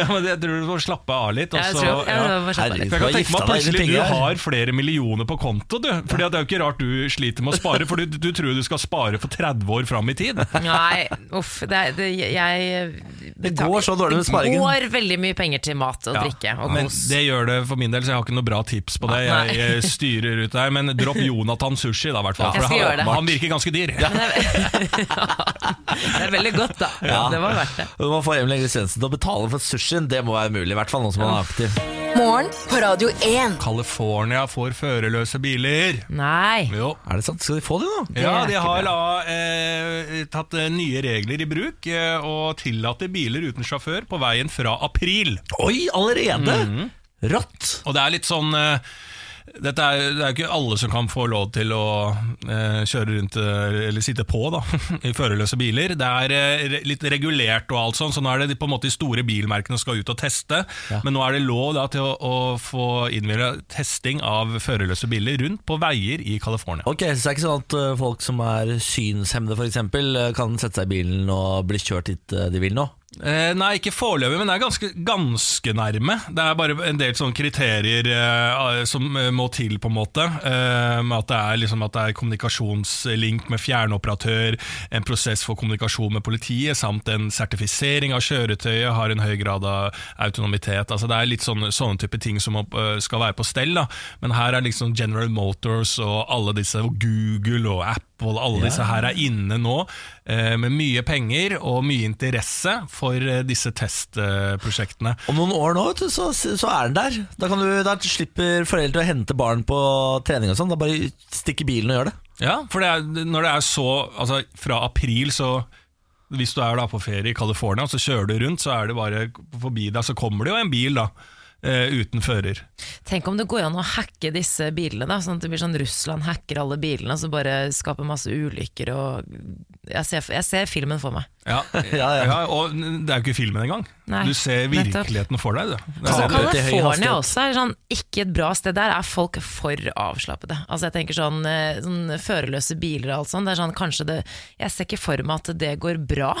S2: *laughs* Ja, men jeg tror du må slappe av litt. Og
S3: Jeg
S2: så,
S3: tror- ja, det var sånn- slapp av
S1: Herregud,
S2: For jeg
S3: litt.
S1: du har
S2: kan tenke meg
S1: gifta
S2: at
S1: deg
S2: plutselig
S1: med
S2: du
S1: penger her.
S2: har flere millioner på konto, du. Fordi at det er jo ikke rart du sliter med å spare, for du, du tror du skal spare for 30 år fram i
S1: *laughs*
S2: tid.
S3: Nei, uff. Det, er- det, jeg,
S1: Det går så dårlig med sparingen.
S3: Det går veldig mye penger til mat og
S2: Ja,
S3: drikke og
S2: men
S3: kos.
S2: det gjør det for min del, så jeg har ikke noe bra tips på det.
S3: Nei.
S2: Jeg, jeg styrer ut der, men
S3: *laughs*
S2: dropp Jonathan Sushi, da, i hvert fall.
S3: Jeg
S2: for
S3: skal gjøre
S2: han,
S3: det.
S2: han virker ganske dyr.
S3: Men det er, det er veldig godt, da.
S1: Ja.
S3: Det var verdt det.
S1: Man får Emil Hegle Svendsen til å betale for sushien. Det må være mulig, i hvert fall nå som han er aktiv.
S4: Morgen på Radio 1.
S2: California får førerløse biler.
S3: Nei.
S2: Jo.
S1: Er det sant? Skal de få det nå?
S2: Ja,
S3: er
S2: de
S3: ikke
S2: har la, eh, tatt eh, nye regler i bruk eh, og tillater biler uten sjåfør på veien fra april.
S1: Oi, allerede?
S3: Mhm.
S1: Rått!
S2: Og det er litt sånn eh, dette er, det er jo ikke alle som kan få lov til å eh, kjøre rundt eh, eller sitte på da, *laughs* i førerløse biler. Det er eh, re litt regulert og alt sånn, så nå er det de- på en måte de store bilmerkene som skal ut og teste. Men nå er det lov da, til å, å få innvilga testing av førerløse biler rundt på veier i California.
S1: Ok, Så det er ikke sånn at ø, folk som er synshemmede f.eks., kan sette seg i bilen og bli kjørt dit ø, de vil nå?
S2: Eh, nei, ikke foreløpig, men det er ganske, ganske nærme. Det er bare en del sånne kriterier eh, som eh, må til, på en måte. Eh, med at, det er, liksom, at det er kommunikasjonslink med fjernoperatør, en prosess for kommunikasjon med politiet, samt en sertifisering av kjøretøyet, har en høy grad av autonomitet. Altså, det er litt sånne, sånne type ting som må, eh, skal være på stell. Da. Men her er liksom General Motors og alle disse, og Google og Apple og alle disse her er inne nå eh, med mye penger og mye interesse for eh, disse testprosjektene.
S1: Om noen år nå, vet du, så, så er den der. Da, kan du, da slipper foreldre å hente barn på trening og sånn. Da bare stikk i bilen og gjør det.
S2: Ja, for det er, når det er så Altså, fra april så Hvis du er da på ferie i California, så kjører du rundt, så er det bare forbi deg, så kommer det jo en bil, da. eh, Uten fører.
S3: Tenk om det går an å hacke disse bilene, da, sånn at det blir sånn Russland hacker alle bilene og så bare skaper masse ulykker og Jeg ser, jeg ser filmen for meg.
S2: *laughs* Ja,
S1: Ja, ja.
S2: Og det er jo ikke filmen engang.
S3: Nei,
S2: du ser
S3: nettopp.
S2: virkeligheten for deg. Du. Det
S1: Ja,
S3: Så
S2: er-
S1: det er til høy
S3: Altså, California
S1: hastighet.
S3: også er sånn, ikke et bra sted. Der er folk for avslappede. Altså jeg tenker sånn, eh, sånn Førerløse biler og alt sånt. Det er sånn, kanskje det, jeg ser ikke for meg at det går bra.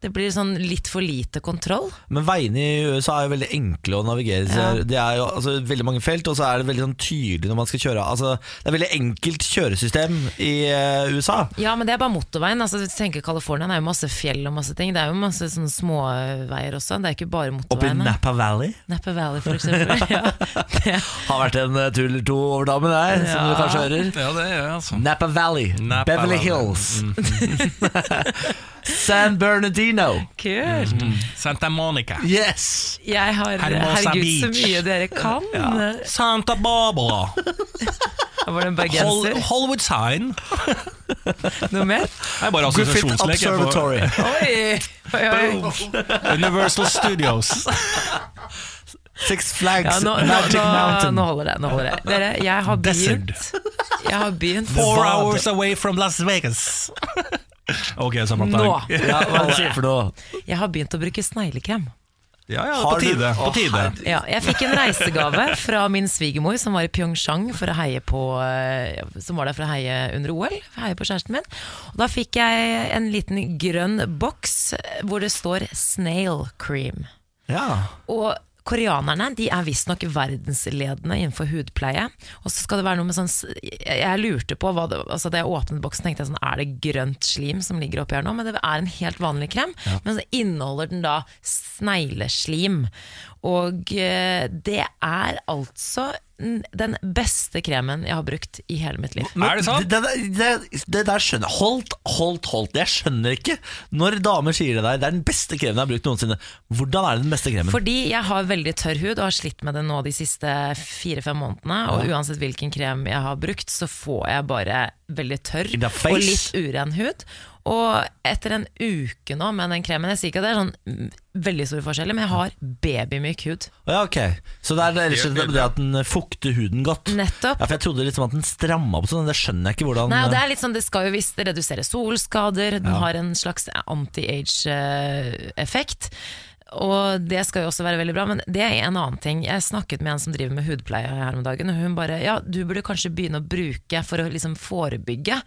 S3: Det blir sånn litt for lite kontroll.
S1: Men veiene i USA er jo veldig enkle å navigere i.
S3: Ja.
S1: Det er jo altså, veldig mange felt, og så er det veldig sånn tydelig når man skal kjøre. Altså, det er veldig enkelt kjøresystem i eh, ø, USA.
S3: Ja, men det er bare motorveien. Altså, hvis du tenker California det er jo masse fjell og masse ting. Det er jo masse sånne småveier også. Det er ikke bare
S1: Oppe i
S3: motorveiene.
S1: Napa Valley
S3: Napa Valley, for eksempel. *laughs* ja. det,
S1: har vært en ø, tur eller to over damen der, som du
S3: Ja.
S1: kanskje hører.
S2: Ja, det er altså.
S1: Napa Valley,
S2: Napa
S1: Beverly
S2: Valley.
S1: Hills, *laughs* San Bernardino.
S3: kult!
S1: Mhm.
S2: Santa Monica.
S1: Yes!
S3: Jeg har
S2: Hermosa
S3: Herregud, så
S2: Beach.
S3: mye dere kan!
S2: Santa Barbara.
S3: Var det en
S2: Hol
S3: bergenser?
S2: Hollywood sign.
S3: Noe mer?
S2: Det er bare
S1: Griffith
S2: assosiasjonslek. jeg får-
S1: Observatory.
S3: Oi! oi, oi.
S2: Universal Studios.
S1: Six Flags
S3: Ja, nå, nå,
S1: Magic
S3: nå,
S1: Mountain.
S3: nå holder det. Nå holder det. Dere, jeg har begynt.
S2: Desert.
S3: Jeg har
S2: *laughs*
S3: begynt
S2: Four
S1: Nevada.
S2: hours away from Las Vegas. Ok, samme
S3: nå.
S2: opptak.
S1: Ja, hva er det sier for noe?
S3: Jeg har begynt å bruke sneglekrem.
S2: Ja, ja,
S1: Har
S2: på
S1: du-
S2: tide. På
S1: Å,
S2: tide.
S1: herregud.
S3: Ja, jeg fikk en reisegave fra min svigermor som var i Pyeongchang for å heie på eh, Som var der for å heie under OL, for å heie på kjæresten min. Og da fikk jeg en liten grønn boks hvor det står 'snail cream'.
S1: Ja.
S3: Og koreanerne de er visstnok verdensledende innenfor hudpleie. Og så skal det være noe med sånn s- Jeg jeg lurte på hva det, altså Da jeg åpnet boksen, tenkte jeg sånn Er det grønt slim som ligger oppi her nå? Men det er en helt vanlig krem. Men så inneholder den da snegleslim. Og eh, det er altså n- den beste kremen jeg har brukt i hele mitt liv.
S1: Men
S2: *laughs* Er det sant?
S1: Det, det, det, det der skjønner jeg. Holdt, holdt, holdt. Jeg skjønner ikke når damer sier det der. Det er den beste kremen jeg har brukt noensinne. Hvordan er det den beste kremen?
S3: Fordi jeg har veldig tørr hud og har slitt med det nå de siste fire-fem månedene. Og uansett hvilken krem jeg har brukt, så får jeg bare veldig tørr
S1: In the face.
S3: og litt uren hud. Og etter en uke nå med den kremen Jeg sier ikke at det er sånn mm, veldig store forskjeller, men jeg har babymyk hud.
S1: ja, ok Så det er rett og slett det at den fukter huden godt.
S3: Nettopp.
S1: Ja, for Jeg trodde liksom at den stramma opp sånn. Det skjønner jeg ikke hvordan
S3: Nei, og det er litt sånn, det skal jo visst redusere solskader, den har en slags anti-age-effekt. Og det skal jo også være veldig bra, men det er en annen ting. Jeg snakket med en som driver med hudpleie her om dagen, og hun bare ja, du burde kanskje begynne å bruke for å liksom forebygge.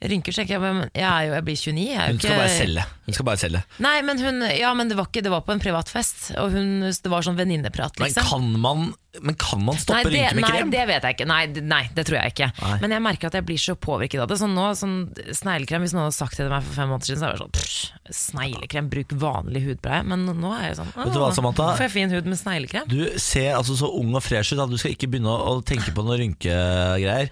S3: Rynker tenker jeg, men jeg, er jo, jeg blir 29, jeg er jo
S1: Hun
S3: ikke
S1: skal bare selge. Hun skal bare selge.
S3: Nei, men, hun, ja, men det, var ikke, det var på en privatfest, og hun, det var sånn venninneprat,
S1: Men
S3: liksom.
S1: kan man, men kan man stoppe
S3: Nei, det-
S1: rynker med
S3: nei,
S1: krem?
S3: det vet jeg ikke. Nei, d- nei det tror jeg ikke.
S1: Nei.
S3: Men jeg merker at jeg blir så påvirket av det. Sånn nå, sånn Sneglekrem, hvis noen hadde sagt det til meg for fem måneder siden, så hadde jeg vært sånn pff, Sneglekrem, bruk vanlig hudpleie. Men nå er jeg sånn
S1: Vet du hva,
S3: «Åh,
S1: Samantha?
S3: Får jeg fin hud med sneglekrem?
S1: Du ser altså så ung og fresh ut at du skal ikke begynne å å tenke på noen rynkegreier.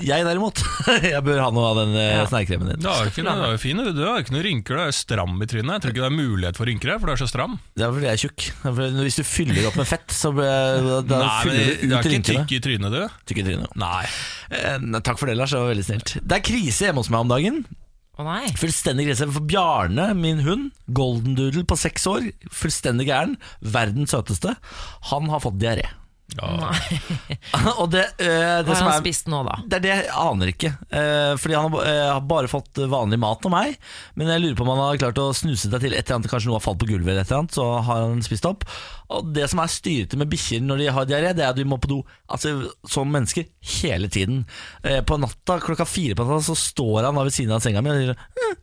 S1: Jeg derimot, *laughs* jeg bør ha noe av den ja. snegrekremen din.
S2: Du har jo ikke noe, du har jo fin, du har jo ikke noen rynker, du er jo stram i trynet. Jeg tror ikke det er mulighet for rynker her, for du er så stram.
S1: Det er fordi jeg er tjukk. Det er fordi Hvis du fyller opp med fett, så da, da
S2: men
S1: fyller
S2: du
S1: du
S2: er
S1: ut
S2: ikke
S1: rynkene.
S2: tykk i trynet, du.
S1: Tykk i trynet. Eh, nei, takk for det, Lars. Det var veldig snilt. Det er krise hjemme hos meg om dagen.
S3: Å
S1: *laughs*
S3: nei.
S1: Fullstendig krise. For Bjarne, min hund, golden doodle på seks år, fullstendig gæren, verdens søteste, han har fått diaré. *laughs* og det, eh, det
S3: Hva
S1: som
S3: har han
S1: er
S3: spist nå, da?
S1: det er det jeg aner ikke. Eh, fordi han har ba- eh, har bare fått vanlig mat av meg. Men jeg lurer på om han har klart å snuse seg til et eller annet. Kanskje noe har falt på gulvet, eller et eller annet, så har han spist opp. Og Det som er styrete med bikkjer når de har diaré, det er at de må på do Altså som mennesker hele tiden. Eh, på natta klokka fire på natta så står han da ved siden av senga mi og sier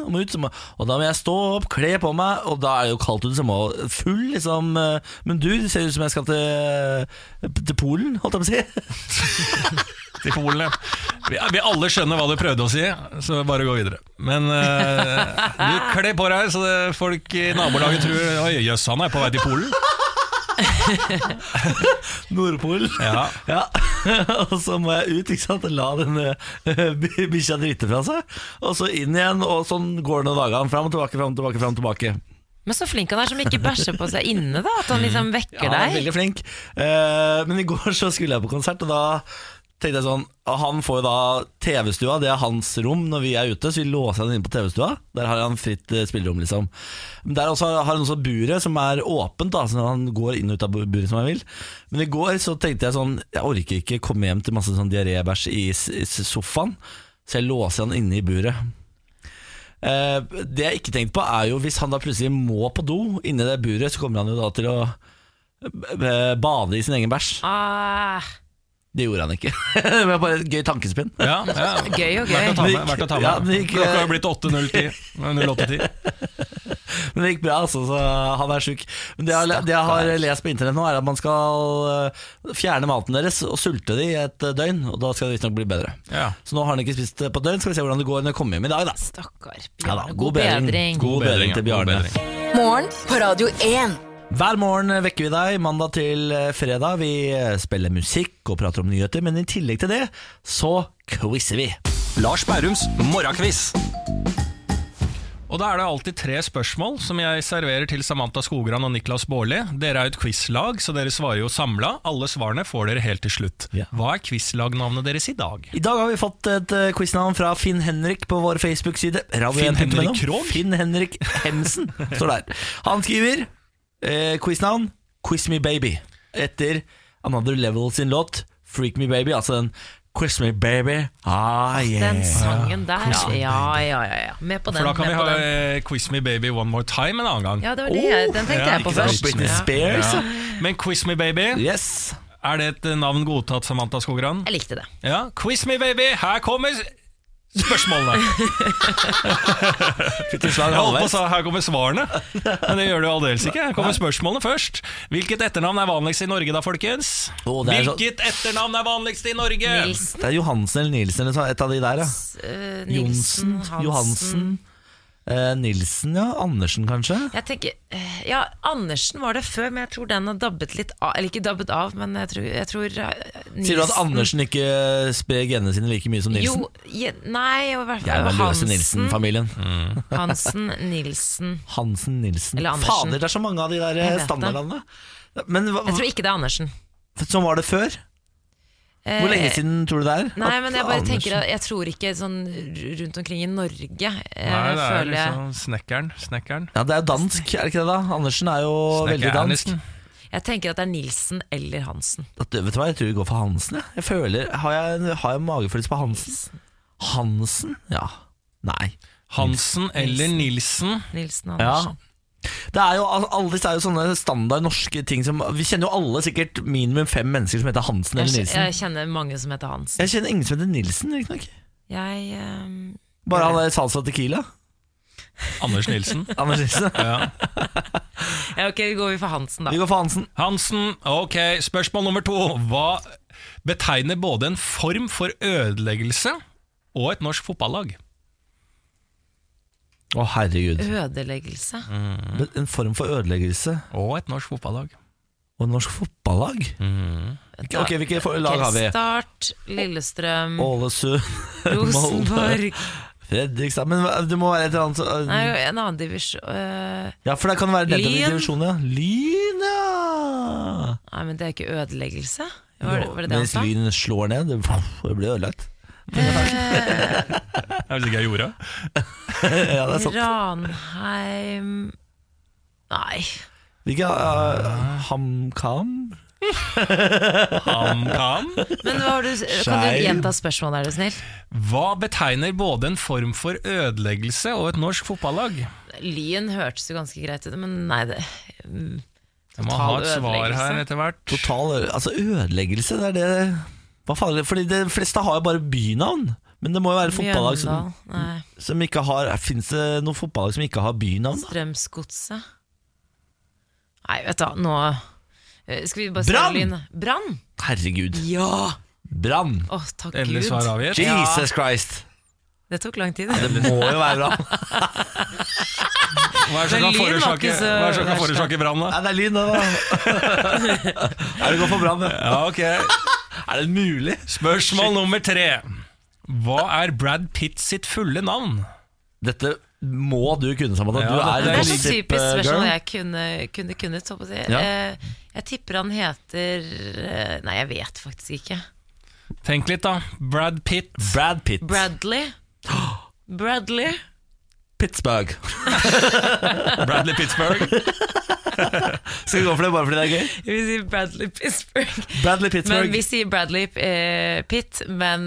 S1: og må ut, så må, og da må jeg stå opp, kle på meg, og da er det jo kaldt ute, så jeg må full liksom eh, Men du, det ser ut som jeg skal til, til Polen, holdt jeg på å si.
S2: til Polen. ja. Vi, vi alle skjønner hva du prøvde å si, så bare gå videre. Men eh, du kler på deg så det, folk i nabolaget tror Oi, jøss, han er på vei til Polen.
S1: Nordpolen.
S2: Ja.
S1: Ja, *laughs* og så må jeg ut, ikke sant, og la den eh, *laughs* bi- bikkja drite fra seg. Og så inn igjen, og sånn går det noen dager. Fram og tilbake, fram og tilbake, fram og tilbake.
S3: Men så flink han er som
S1: *laughs*
S3: ikke bæsjer på seg inne, da. At han liksom vekker
S1: Ja, han er
S3: deg.
S1: veldig flink. Eh, men i går så skulle jeg på konsert, og da tenkte jeg sånn Han får jo da TV-stua, det er hans rom når vi er ute, så vi låser han inne på TV-stua. Der har han fritt eh, spillerom, liksom. Men der også har han også buret som er åpent, da, så han går inn og ut av bu- buret som han vil. Men i går så tenkte jeg sånn Jeg orker ikke komme hjem til masse sånn diarébæsj i s- i s- sofaen, så jeg låser han inne i buret. Eh, det jeg ikke tenkte på, er jo hvis han da plutselig må på do inni det buret, så kommer han jo da til å eh, bade i sin egen bæsj.
S3: Ah,
S1: Det gjorde han ikke. *laughs* det var bare et gøy tankespinn.
S2: Ja, ja.
S3: Gøy og
S2: Verdt å ta
S3: gøy.
S2: med. Verdt å ta med.
S1: Ja, det gikk-
S2: Klokka har blitt 8.010.
S1: *laughs*
S2: 08.10.
S1: Men det gikk bra, altså, så han er sjuk. Men det jeg, har- det jeg har lest på internett nå, er at man skal eh, fjerne maten deres og sulte de i et eh, døgn, og da skal det visstnok bli bedre.
S2: Ja.
S1: Så nå har han ikke spist det på et døgn, skal vi se hvordan det går når jeg kommer hjem i dag, da.
S3: Stakkar.
S1: Ja da,
S3: Bjarne. God bedring.
S1: God bedring til
S2: ja. God
S1: Bjarne.
S2: bedring.
S4: Morgen på Radio 1.
S1: Hver morgen vekker vi deg mandag til eh, fredag. Vi eh, spiller musikk og prater om nyheter, men i tillegg til det så quizer vi.
S8: Lars Bærums morgenkviss.
S2: Og da er det alltid tre spørsmål som jeg serverer til Samantha Skogran og Niklas Baarli. Dere er jo et quizlag, så dere svarer jo samla. Alle svarene får dere helt til slutt.
S1: Ja.
S2: Hva er quizlagnavnet deres i dag?
S1: I dag har vi fått et eh, quiznavn fra Finn Henrik på vår Facebook-side. Radio
S2: Finn
S1: 1.no.
S2: Henrik Krogh?
S1: Finn Henrik Hemsen står der. Han skriver eh, quiznavn Quiz Me Baby etter Another Level sin låt Freak Me Baby, altså den Quiz Me Baby. Ah, yeah.
S3: Den sangen der. Ja, ja, ja. ja. Med på den.
S2: For da kan
S3: med
S2: vi
S3: på
S2: ha
S3: den.
S2: eh, Quiz Me Baby One More Time en annen gang.
S3: Ja, det var det. jeg- Den tenkte
S2: Ja,
S3: jeg på
S2: ikke sant?
S3: først.
S1: Britney
S3: Ja.
S1: Spears.
S2: Ja. Men Quiz Me Baby,
S1: Yes.
S2: er det et eh, navn godtatt, Samantha Skogran?
S3: Jeg likte det.
S2: Ja. Quiz Me Baby, her kommer spørsmålene.
S1: Fikk et slag
S2: Jeg holdt på å
S1: halvveis.
S2: sa, Her kommer svarene, men det gjør det jo aldeles ikke. Her kommer spørsmålene først. Hvilket etternavn er vanligst i Norge da, folkens?
S1: Å, det er så-
S2: Hvilket etternavn er vanligst i Norge?
S3: Nils,
S1: Det er Johansen eller Nielsen eller sånn, et av de der, ja.
S3: eh, Nilsen,
S1: Johnsen,
S3: Hansen
S1: Johansen. Eh, Nilsen, ja. Andersen, kanskje.
S3: Jeg tenker, eh, ja, Andersen var det før, men jeg tror den har dabbet litt av. Eller ikke dabbet av, men jeg tror, jeg tror eh, Nilsen
S1: Sier du at Andersen ikke sprer genene sine like mye som Nilsen?
S3: Jo, je, nei, i hvert
S1: Jeg
S3: fall
S1: var løs i
S3: Hansen.
S1: Nilsen-familien.
S3: Hansen, Nilsen
S1: Hansen, Nilsen
S3: Eller Andersen.
S1: Fader, det er så mange av de der eh,
S3: Jeg vet det.
S1: standardnavnene. Men hva,
S3: Jeg tror ikke det er Andersen.
S1: sånn var det før? *laughs*
S3: Eh,
S1: Hvor lenge siden tror du det er?
S3: Nei,
S1: at
S3: men jeg bare
S1: Andersen-
S3: tenker at jeg tror ikke sånn r- rundt omkring i Norge eh,
S2: Nei, det er
S3: føler jeg
S2: liksom snekkeren. Snekkeren.
S1: Ja, det er jo dansk, er det ikke det da? Andersen er jo veldig dansk.
S2: Snekker-Ernesen.
S3: Jeg tenker at det er Nilsen eller Hansen.
S1: At, vet du hva, jeg tror vi går for Hansen, jeg. jeg føler, har jeg, har jeg magefølelse på Hansen? Hansen? Ja. Nei.
S2: Hansen eller Nilsen.
S3: Nilsen og
S1: Ja.
S3: Andersen.
S1: Det er jo, al- alle disse er jo sånne standard norske ting som Vi kjenner jo alle sikkert minimum fem mennesker som heter Hansen
S3: Jeg,
S1: eller
S3: kj- jeg
S1: Nilsen.
S3: kjenner mange som heter Hansen.
S1: Jeg kjenner ingen som heter Nilsen, riktignok.
S3: Jeg ehm,
S1: Bare han der Salsa Tequila.
S2: Anders Nilsen.
S1: Anders
S3: *laughs*
S1: Nilsen.
S3: ja, Ok, vi går for Hansen, da.
S1: Vi går for Hansen.
S2: Hansen. Ok, spørsmål nummer to. Hva betegner både en form for ødeleggelse og et norsk fotballag?
S1: Å, herregud.
S3: Ødeleggelse.
S1: Mm. Det- En form for ødeleggelse.
S2: Og et norsk fotballag.
S1: Og norsk fotballag?
S3: Mm.
S1: Ok, ok, Hvilke for- lag har vi?
S3: Ok, Start, Lillestrøm,
S1: Ålesund, *laughs* Molde,
S3: Rosenborg
S1: Fredrikstad Men hva- det må være et eller annet så-
S3: Nei, en annen divisjon eh,
S1: Ja, for det kan være den
S3: Lyn.
S1: divisjonen, ja. Lyn, ja!
S3: Nei, men det er ikke ødeleggelse. Var det var det, det han
S1: Mens
S3: sa?
S1: Lyn slår ned, det, det blir ødelagt.
S2: Jeg vet ikke jeg gjorde.
S1: Ja, det er sant.
S3: Ranheim Nei.
S1: Hvilke uh,
S3: Ah.
S1: HamKam?
S2: HamKam.
S3: Men hva har du, kan du
S1: Skeiv.
S3: gjenta spørsmålet, er du snill?
S2: Hva betegner både en form for ødeleggelse og et norsk fotballag?
S3: Lyn hørtes jo ganske greit ut, men nei det mm,
S2: Jeg må ha
S3: Total
S2: et svar
S3: ødeleggelse.
S2: her etter hvert.
S1: Total ø- altså ødeleggelse, det er det Hva faen? er det? Fordi de fleste har jo bare bynavn. Men det må jo være fotballag som, Mm.
S3: Mjøndal, nei,
S1: som ikke har Fins det noen fotballag som ikke har bynavn? da?
S3: Strømsgodset Nei, vet du hva, nå eh, Skal vi bare
S1: Brann!
S3: svare Lyn? Brann?
S1: Herregud.
S3: Ja!
S1: Brann!
S3: Å, takk
S2: Endelig
S3: Gud.
S2: svar avgitt.
S1: Jesus Christ!
S3: Det tok lang tid.
S1: Det må jo være Brann.
S2: Hva er det som kan
S3: Men Lyn var
S2: forårsake,
S3: ikke så
S2: hva er det som kan
S3: verst, da.
S2: forårsake brann, da?
S1: Nei, det er Lyn, det, da. er det godt for Brann, det?
S2: Ja, ok.
S1: Er det mulig?
S2: Spørsmål nummer tre. Hva er Brad Pitt sitt fulle navn?
S1: Dette må du kunne, Samantha.
S2: Ja,
S1: du er,
S2: dette
S3: Det er så
S1: gossip, eh,
S3: typisk
S1: girl.
S3: spørsmål jeg kunne kunne, kunne holdt på å si.
S1: Ja.
S3: Eh, jeg tipper han heter eh, Nei, jeg vet faktisk ikke.
S2: Tenk litt, da. Brad Pitt.
S1: Brad Pitt.
S3: Bradley? Bradley?
S1: Pittsburgh.
S2: *laughs* Bradley Pittsburgh.
S1: Skal vi gå for det bare fordi det er gøy?
S3: Vi sier Bradley Pittsburgh.
S1: Bradley
S3: Men
S1: Pittsburgh.
S3: vi sier Bradley eh, Pitt, men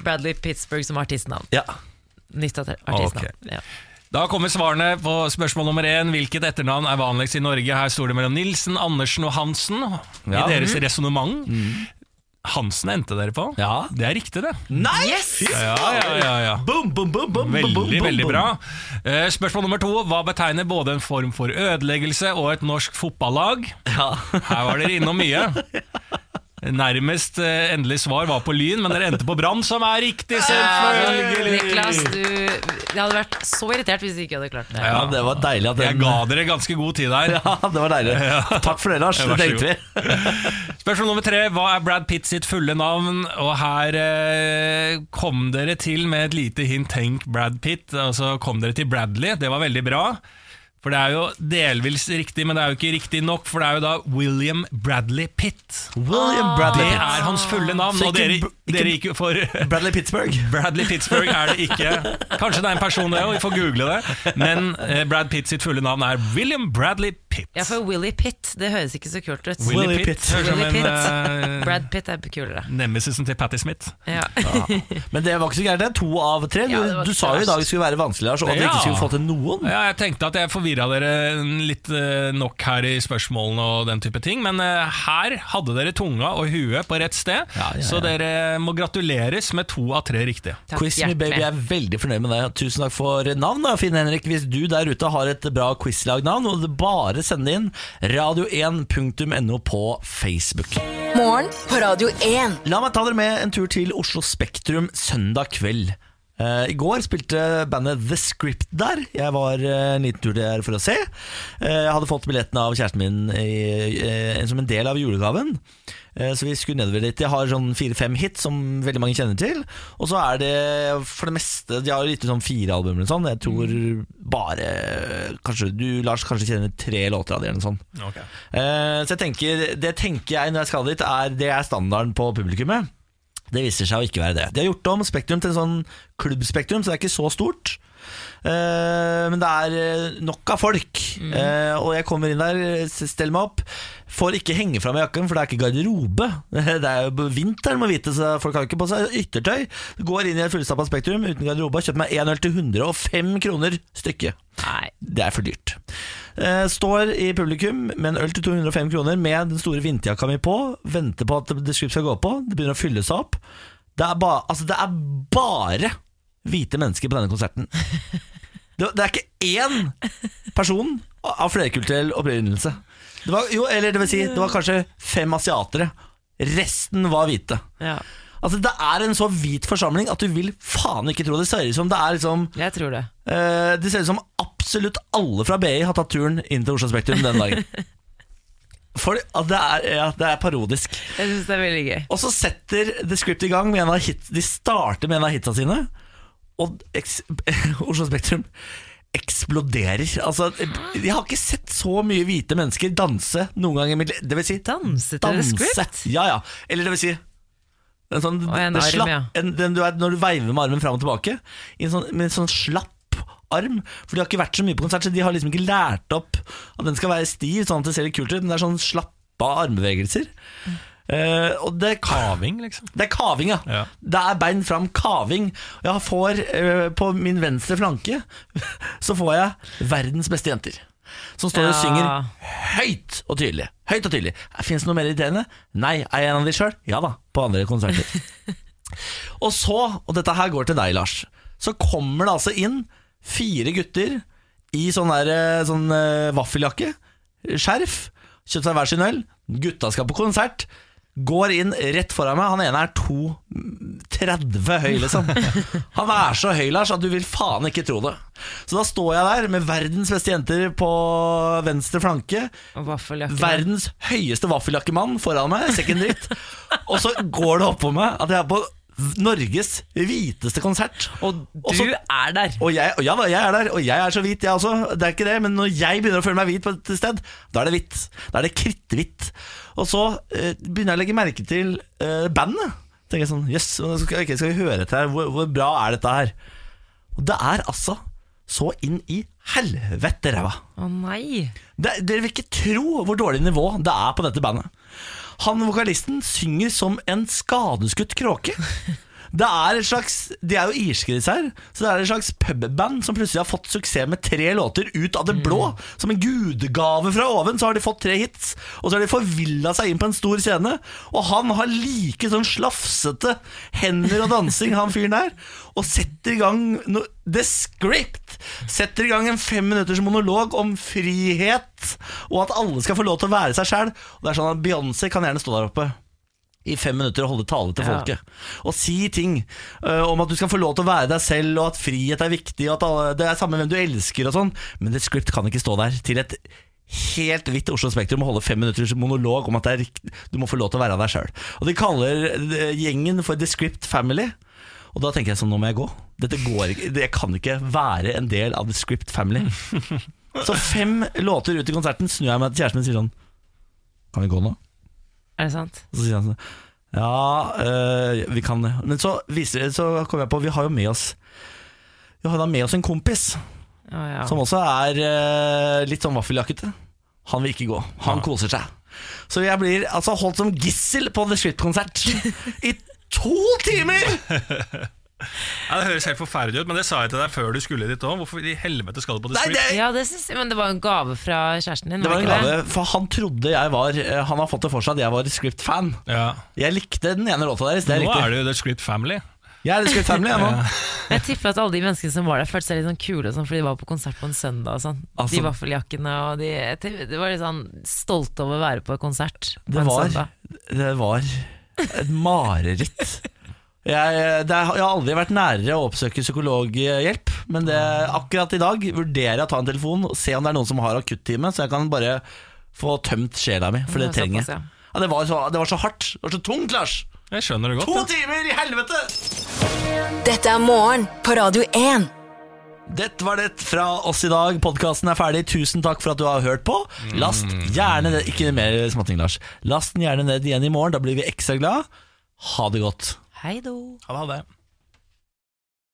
S3: Bradley Pittsburgh som artistnavn.
S1: Ja.
S3: Nytt at- artistnavn.
S2: Ok.
S3: Ja.
S2: Da kommer svarene på spørsmål nummer én. Hvilket etternavn er vanligst i Norge? Her står det mellom Nilsen, Andersen og Hansen i
S1: Ja. Mm.
S2: deres resonnement. Hansen endte dere på.
S1: Ja. Mm.
S2: Det er riktig, det.
S1: Nei!
S3: Yes!
S2: Ja, ja, ja, ja.
S1: Boom, boom, boom, boom, boom, boom,
S2: Veldig,
S1: boom,
S2: veldig
S1: boom.
S2: bra. Eh, Spørsmål nummer to. Hva betegner både en form for ødeleggelse og et norsk fotballag?
S1: Ja.
S2: Her var dere innom mye. Nærmest eh, endelig svar var på Lyn, men dere endte på Brann, som er riktig, selvfølgelig!
S3: Niklas, du Jeg hadde vært så irritert hvis du ikke hadde klart det.
S1: ja, det var deilig at
S2: Jeg
S1: den
S2: ga dere ganske god tid der.
S1: Ja, det var deilig. Takk for det, Lars. Det
S2: Ja, vær så
S1: tenkte vi.
S2: Spørsmål nummer tre. Hva er Brad Pitt sitt fulle navn? Og her eh, kom dere til med et lite hint. Tenk Brad Pitt. Og så kom dere til Bradley. Det var veldig bra. For det er jo delvis riktig, men det er jo ikke riktig nok. For det er jo da William Bradley Pitt.
S1: William
S2: Det
S1: Bradley
S2: er hans fulle navn.
S1: Så
S2: Og
S1: ikke
S2: dere,
S1: Br- ikke-
S2: dere gikk jo for *laughs*
S1: Pitt- Bradley Pittsburgh.
S2: Bradley Pittsburgh er det ikke. Kanskje det er en person, det òg, vi får google det. Men eh, Brad Pitt sitt fulle navn er William Bradley
S1: Pitt.
S3: Ja, for Willy Pitt, det høres ikke så kult ut.
S1: Willy
S2: Willy Pitt.
S1: Pitt.
S2: Høres som
S3: Willy Pitt.
S2: en eh,
S3: Brad Pitt er kulere.
S2: nemesisen til Patti Smith.
S3: Ja.
S1: Men det var ikke så gærent. Det er to av tre.
S3: Ja, det var
S1: du, du sa jo i dag det skulle være vanskelig, Lars, og at dere
S2: Ja.
S1: ikke skulle få til noen.
S2: Ja, jeg tenkte at jeg forvirra dere litt eh, nok her i spørsmålene og den type ting, men eh, her hadde dere tunga og huet på rett sted,
S1: Ja, ja, ja.
S2: så dere må gratuleres med to av tre riktige.
S3: Takk
S1: Quiz me baby, jeg er
S3: hjertelig.
S1: veldig fornøyd med deg. Tusen takk for navn, da, Finn-Henrik. Hvis du der ute har et bra quizlagnavn, må du bare sende inn radio1.no på Facebook.
S4: Morgen på Radio 1.
S1: La meg ta dere med en tur til Oslo Spektrum søndag kveld. Eh, I går spilte bandet The Script der. Jeg var eh, en liten tur der for å se. Eh, jeg hadde fått billetten av kjæresten min i, eh, som en del av julegaven. Eh, så vi skulle nedover dit. Jeg har sånn fire-fem hit som veldig mange kjenner til. Og så er det for det meste De har jo gitt ut sånn fire albumer eller sånn. Jeg tror bare Kanskje du, Lars, kanskje kjenner tre låter av det eller noe sånt. Eh, Så jeg tenker, det tenker jeg når jeg skal dit, er, det er standarden på publikummet. Det viser seg å ikke være det. De har gjort om Spektrum til en sånn klubbspektrum, så det er ikke så stort. Eh, men det er eh, nok av folk. Eh, og jeg kommer inn der, s- steller meg opp. Får ikke henge fra meg jakken, for det er ikke garderobe. *laughs* Det er jo vinter, må vite, så folk har jo ikke på seg yttertøy. Går inn i et fullstappa Spektrum uten garderobe, kjøper meg én øl til 105 kroner stykket.
S3: Nei.
S1: Det er for dyrt. Eh, Står i publikum med en øl til 205 kroner med den store vinterjakka mi på. Venter på at The Script skal gå på. Det begynner å fylle seg opp. Det er, ba altså, det er bare hvite mennesker på denne konserten. Det, det er ikke én person av flerkulturell opprinnelse. Det var, jo, eller det vil si, det var kanskje fem asiatere. Resten var hvite.
S3: Ja,
S1: Altså, det er en så hvit forsamling at du vil faen ikke tro det. Det ser ut som det er liksom
S3: jeg tror det.
S1: Eh, Det ser ut som absolutt alle fra BI har tatt turen inn til Oslo Spektrum den dagen. For at det, er, ja, det er parodisk.
S3: Jeg syns det er veldig gøy.
S1: Og så setter The Script i gang med en av hit, De starter med en av hitsa sine, og eks, *laughs* Oslo Spektrum eksploderer. Altså, jeg har ikke sett så mye hvite mennesker danse noen gang i mitt liv. Det vil si
S3: Danse til The
S1: danse.
S3: Script?
S1: Ja, ja. Eller det vil si en sånn,
S3: Og en
S1: det
S3: arm,
S1: slapp,
S3: ja.
S1: en, den du er, Når du veiver med armen fram og tilbake i en sånn, Med en sånn slapp arm For de har ikke vært så mye på konsert Så de har liksom ikke lært opp At den skal være stiv Sånn at det ser litt kult ut Men det er sånn slappa armbevegelser Eh, Og det kan
S2: Kaving, liksom.
S1: det er kaving, ja.
S2: Ja.
S1: Det er bein fram kaving. Jeg får eh, på min venstre flanke *laughs* Så får jeg verdens beste jenter. Som står og
S3: Ja.
S1: synger høyt og tydelig. Høyt og tydelig Fins det noe mer irriterende? Nei. Er jeg en av de sjøl? Ja da. På andre konserter. og så, og dette her går til deg, Lars, så kommer det altså inn fire gutter i sånn, der, eh, sånn eh, vaffeljakke, skjerf, kjøpt seg hver sin øl, gutta skal på konsert, går inn rett foran meg, han ene er 2,30 høy liksom. Han er så høy, Lars, at du vil faen ikke tro det. Så da står jeg der med verdens beste jenter på venstre flanke,
S3: Og vaffeljakke.
S1: Verdens høyeste vaffeljakkemann foran meg, ser ikke en dritt.
S3: *laughs*
S1: Og så går det opp på meg at jeg er på Norges hviteste konsert.
S3: Og du
S1: så-
S3: er der!
S1: og jeg, og ja, da, jeg er der, og jeg er så hvit, jeg også. Det er ikke det, men når jeg begynner å føle meg hvit på et sted, da er det hvitt. Da er det kritthvitt. Og så eh, begynner jeg å legge merke til eh, bandet. Tenker jeg sånn, jøss, yes, skal, ok, skal vi høre etter her? Hvor, hvor bra er dette her? Og det er altså så inn i helvete ræva.
S3: Å nei!
S1: Det, dere vil ikke tro hvor dårlig nivå det er på dette bandet. Han vokalisten synger som en skadeskutt kråke. Det er et slags, De er jo irske, disse her. Så det er et slags pubband som plutselig har fått suksess med tre låter ut av det blå. Som en gudegave fra oven, så har de fått tre hits. Og så har de forvilla seg inn på en stor scene. Og han har like sånn slafsete hender og dansing, han fyren der. Og setter i gang no, The Script! Setter i gang en fem minutters monolog om frihet, og at alle skal få lov til å være seg sjæl. Og det er sånn at Beyoncé kan gjerne stå der oppe i fem minutter og holde tale til
S3: Ja.
S1: folket. Og si ting ø, om at du skal få lov til å være deg selv, og at frihet er viktig, og at alle, det er samme hvem du elsker og sånn. Men The Script kan ikke stå der til et helt hvitt Oslo Spektrum og holde fem minutters monolog om at det er rikt, du må få lov til å være deg sjøl. Og de kaller ø, gjengen for The Script Family. Og da tenker jeg sånn, nå må jeg gå. Dette går ikke, Jeg kan ikke være en del av The Script Family. Så fem låter ut i konserten snur jeg meg til kjæresten min og sier sånn Kan vi gå nå?
S3: Er det sant?
S1: Og så sier han sånn Ja, øh, vi kan det. Men så, viser, så kom jeg på Vi har jo med oss Vi har da med oss en kompis
S3: Å ja.
S1: som også er øh, litt sånn eh, vaffeljakkete. Han vil ikke gå. Han koser seg. Så jeg blir altså holdt som gissel på The Shit-konsert i to timer!
S2: Ja, det høres helt forferdelig ut, men det sa jeg til deg før du skulle dit òg. Hvorfor i helvete skal du på The
S1: Nei,
S2: Street?
S1: det,
S3: Ja, det synes jeg, men det var en gave fra kjæresten din.
S1: det var en
S3: ikke det?
S1: gave, for han trodde jeg var eh, Han har fått det for seg at jeg var Script-fan.
S2: Ja.
S1: Jeg likte den ene låta deres. Det er
S2: Nå er
S1: riktig.
S2: det jo The Script Family.
S1: Jeg er Script Family, jeg nå.
S3: Men Jeg tipper at alle de menneskene som var der, følte seg litt sånn kule og sånn, fordi de var på konsert på en søndag og sånn.
S1: Altså-
S3: de vaffeljakkene og de jeg tipper- De var litt sånn stolte over å være på konsert på
S1: Det
S3: en
S1: var,
S3: søndag.
S1: det var et mareritt. Jeg, det er, jeg har aldri vært nærere å oppsøke psykologhjelp, men det, akkurat i dag vurderer jeg å ta en telefon og se om det er noen som har akuttime, så jeg kan bare få tømt sjela mi, for det
S3: Det var
S1: trenger
S3: såpass, ja.
S1: jeg. Ja, det, var så, det var så hardt. Det var så tungt, Lars.
S2: Jeg skjønner det
S1: To
S2: godt.
S1: timer i helvete!
S4: Dette er morgen på Radio 1.
S1: Det var det fra oss i dag. Podkasten er ferdig. Tusen takk for at du har hørt på. Last gjerne ned Ikke mer småting, Lars. Last den gjerne ned igjen i morgen. Da blir vi ekstra glad. Ha det godt.
S3: Hei då.
S2: Ja, det hadde jeg.